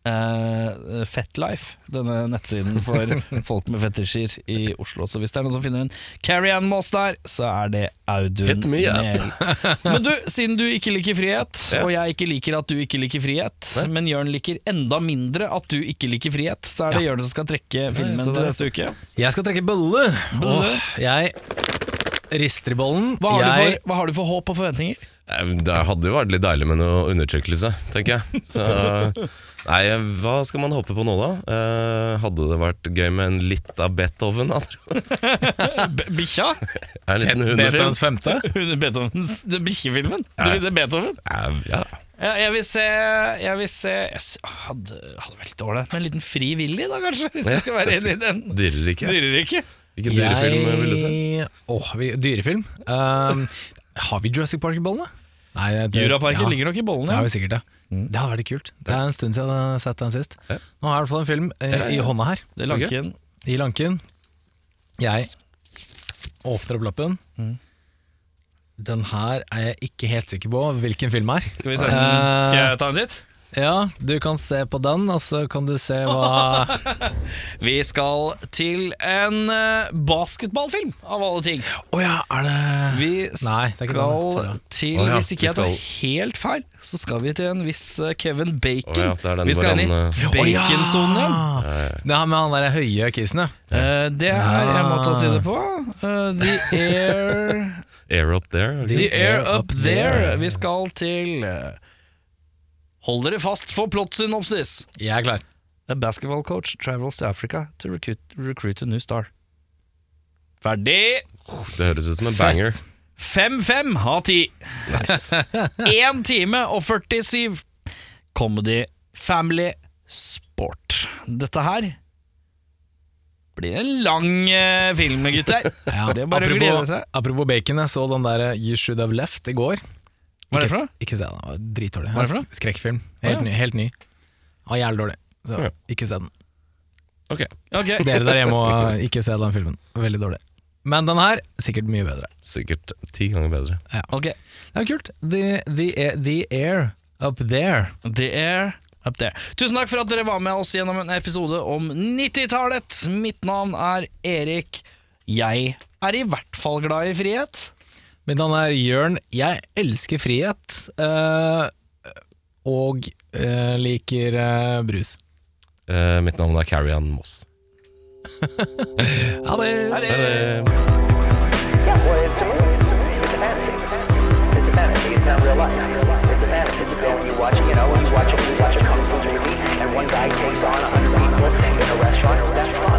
S1: eh, Fetlife, denne nettsiden for folk med fetisjer i Oslo. Så hvis det er noen som finner en Carrion Mas der, så er det Audun.
S2: Hit me up.
S1: Mehl. Men du, siden du ikke liker frihet,
S2: Ja.
S1: og jeg ikke liker at du ikke liker frihet,
S2: Nei.
S1: men Jørn liker enda mindre at du ikke liker frihet, så er det Jørn som skal trekke filmen
S2: så
S1: til
S2: det er
S1: neste uke.
S4: Jeg skal trekke bolle. Åh, jeg rister i bollen.
S1: Hva har,
S4: jeg,
S1: du for, hva har du for håp og forventninger?
S2: Eh, Det hadde jo vært litt deilig med noe undertrykkelse, tenker jeg. Så, nei, hva skal man håpe på nå, da? Eh, hadde det vært gøy med en litt av Beethoven, da, tror jeg?
S1: Bikkja?
S2: En liten hundefilm?
S4: Beethovens femte?
S1: Under Beethovens den Bikkjefilmen? Du
S2: Ja.
S1: vil se Beethoven?
S2: Eh, ja.
S1: Ja, jeg vil se Jeg vil se jeg s- Hadde, hadde vært litt ålreit med en liten Fri Willy, da kanskje? Hvis du skal være enig i den.
S2: Dyrer ikke?
S1: Dyreriket.
S2: Hvilken dyrefilm
S1: eh,
S4: Jeg-
S2: vil du se?
S4: Åh, vi, dyrefilm? Um, har vi Jurassic Park i bollen, da? Nei, det-
S1: Juraparken
S4: ja.
S1: ligger nok Mm. i bollen,
S4: Det har
S1: ja.
S4: vi sikkert, ja. Det hadde vært litt kult. Det er en stund siden jeg har sett den sist. Nå har jeg i hvert fall en film eh, i hånda her,
S1: Det er lanken.
S4: i lanken. Jeg åpner opp lappen.
S1: Mm.
S4: Den her er jeg ikke helt sikker på hvilken film er.
S1: Skal vi se den? Skal jeg ta en titt?
S4: Ja, du kan se på den, og så kan du se hva
S1: Vi skal til en eh, basketballfilm, av alle ting.
S4: Å ja, er det
S1: Vi
S4: Nei, det er ikke
S1: skal
S4: den, tror jeg.
S1: til,
S2: Å ja,
S1: hvis ikke
S2: vi
S1: jeg tar
S2: skal-
S1: helt feil, så skal vi til en viss eh, Kevin Bacon.
S2: Å ja, det er den
S1: vi skal
S2: hvor
S1: inn
S2: han,
S1: i
S2: eh,
S4: Å ja!
S1: baconsonen.
S4: Det er med han derre høye kisen, ja.
S1: Eh, det er en måte å si det på. Eh, the Air
S2: Air Up There? er det
S1: The
S2: ikke?
S1: Air Up There. Vi skal til eh, Hold dere fast for plottsynopsis.
S4: Jeg er klar.
S1: A basketball coach travels to Africa to recruit, recruit a new star. Ferdig!
S2: Det høres ut som en banger.
S1: 5-5 av 10.
S2: Nice.
S1: 1 time og 47. Comedy, family, sport. Dette her blir en lang eh, film, gutter.
S4: Ja,
S1: Det er bare å glede seg.
S4: Apropos bacon, jeg så den der uh, You Should Have Left i går.
S1: Hva er det
S4: Ikke-
S1: for noe?
S4: Ikke se den, den var dritdårlig.
S1: Hva er det for noe?
S4: Skrekkfilm. Helt
S1: Ja.
S4: ny. Helt ny. Ja, jævlig dårlig. Så
S2: Ja.
S4: ikke se den.
S2: Ok,
S1: Ok.
S4: Dere der hjemme må ikke se den filmen. Veldig dårlig. Men den her, sikkert mye bedre.
S2: Sikkert ti ganger bedre.
S1: Ok,
S4: Det er kult. The, the, air, the air up there.
S1: The Air Up There. Tusen takk for at dere var med oss gjennom en episode om 90-tallet. Mitt navn er Erik. Jeg er i hvert fall glad i frihet.
S4: Mitt navn er Jørn. Jeg elsker frihet. eh, og eh, liker eh, brus.
S2: Eh, mitt navn er Carrie-Ann Moss.
S4: Ha det!
S1: Ha det!
S2: Ha det.
S3: Yeah, well, it's a movie. It's a fantasy. It's a fantasy. It's not real life. It's a fantasy. You go and you watch, you know, you watch, you watch a kung fu movie, and one guy takes on a hundred people in a restaurant. That's fine.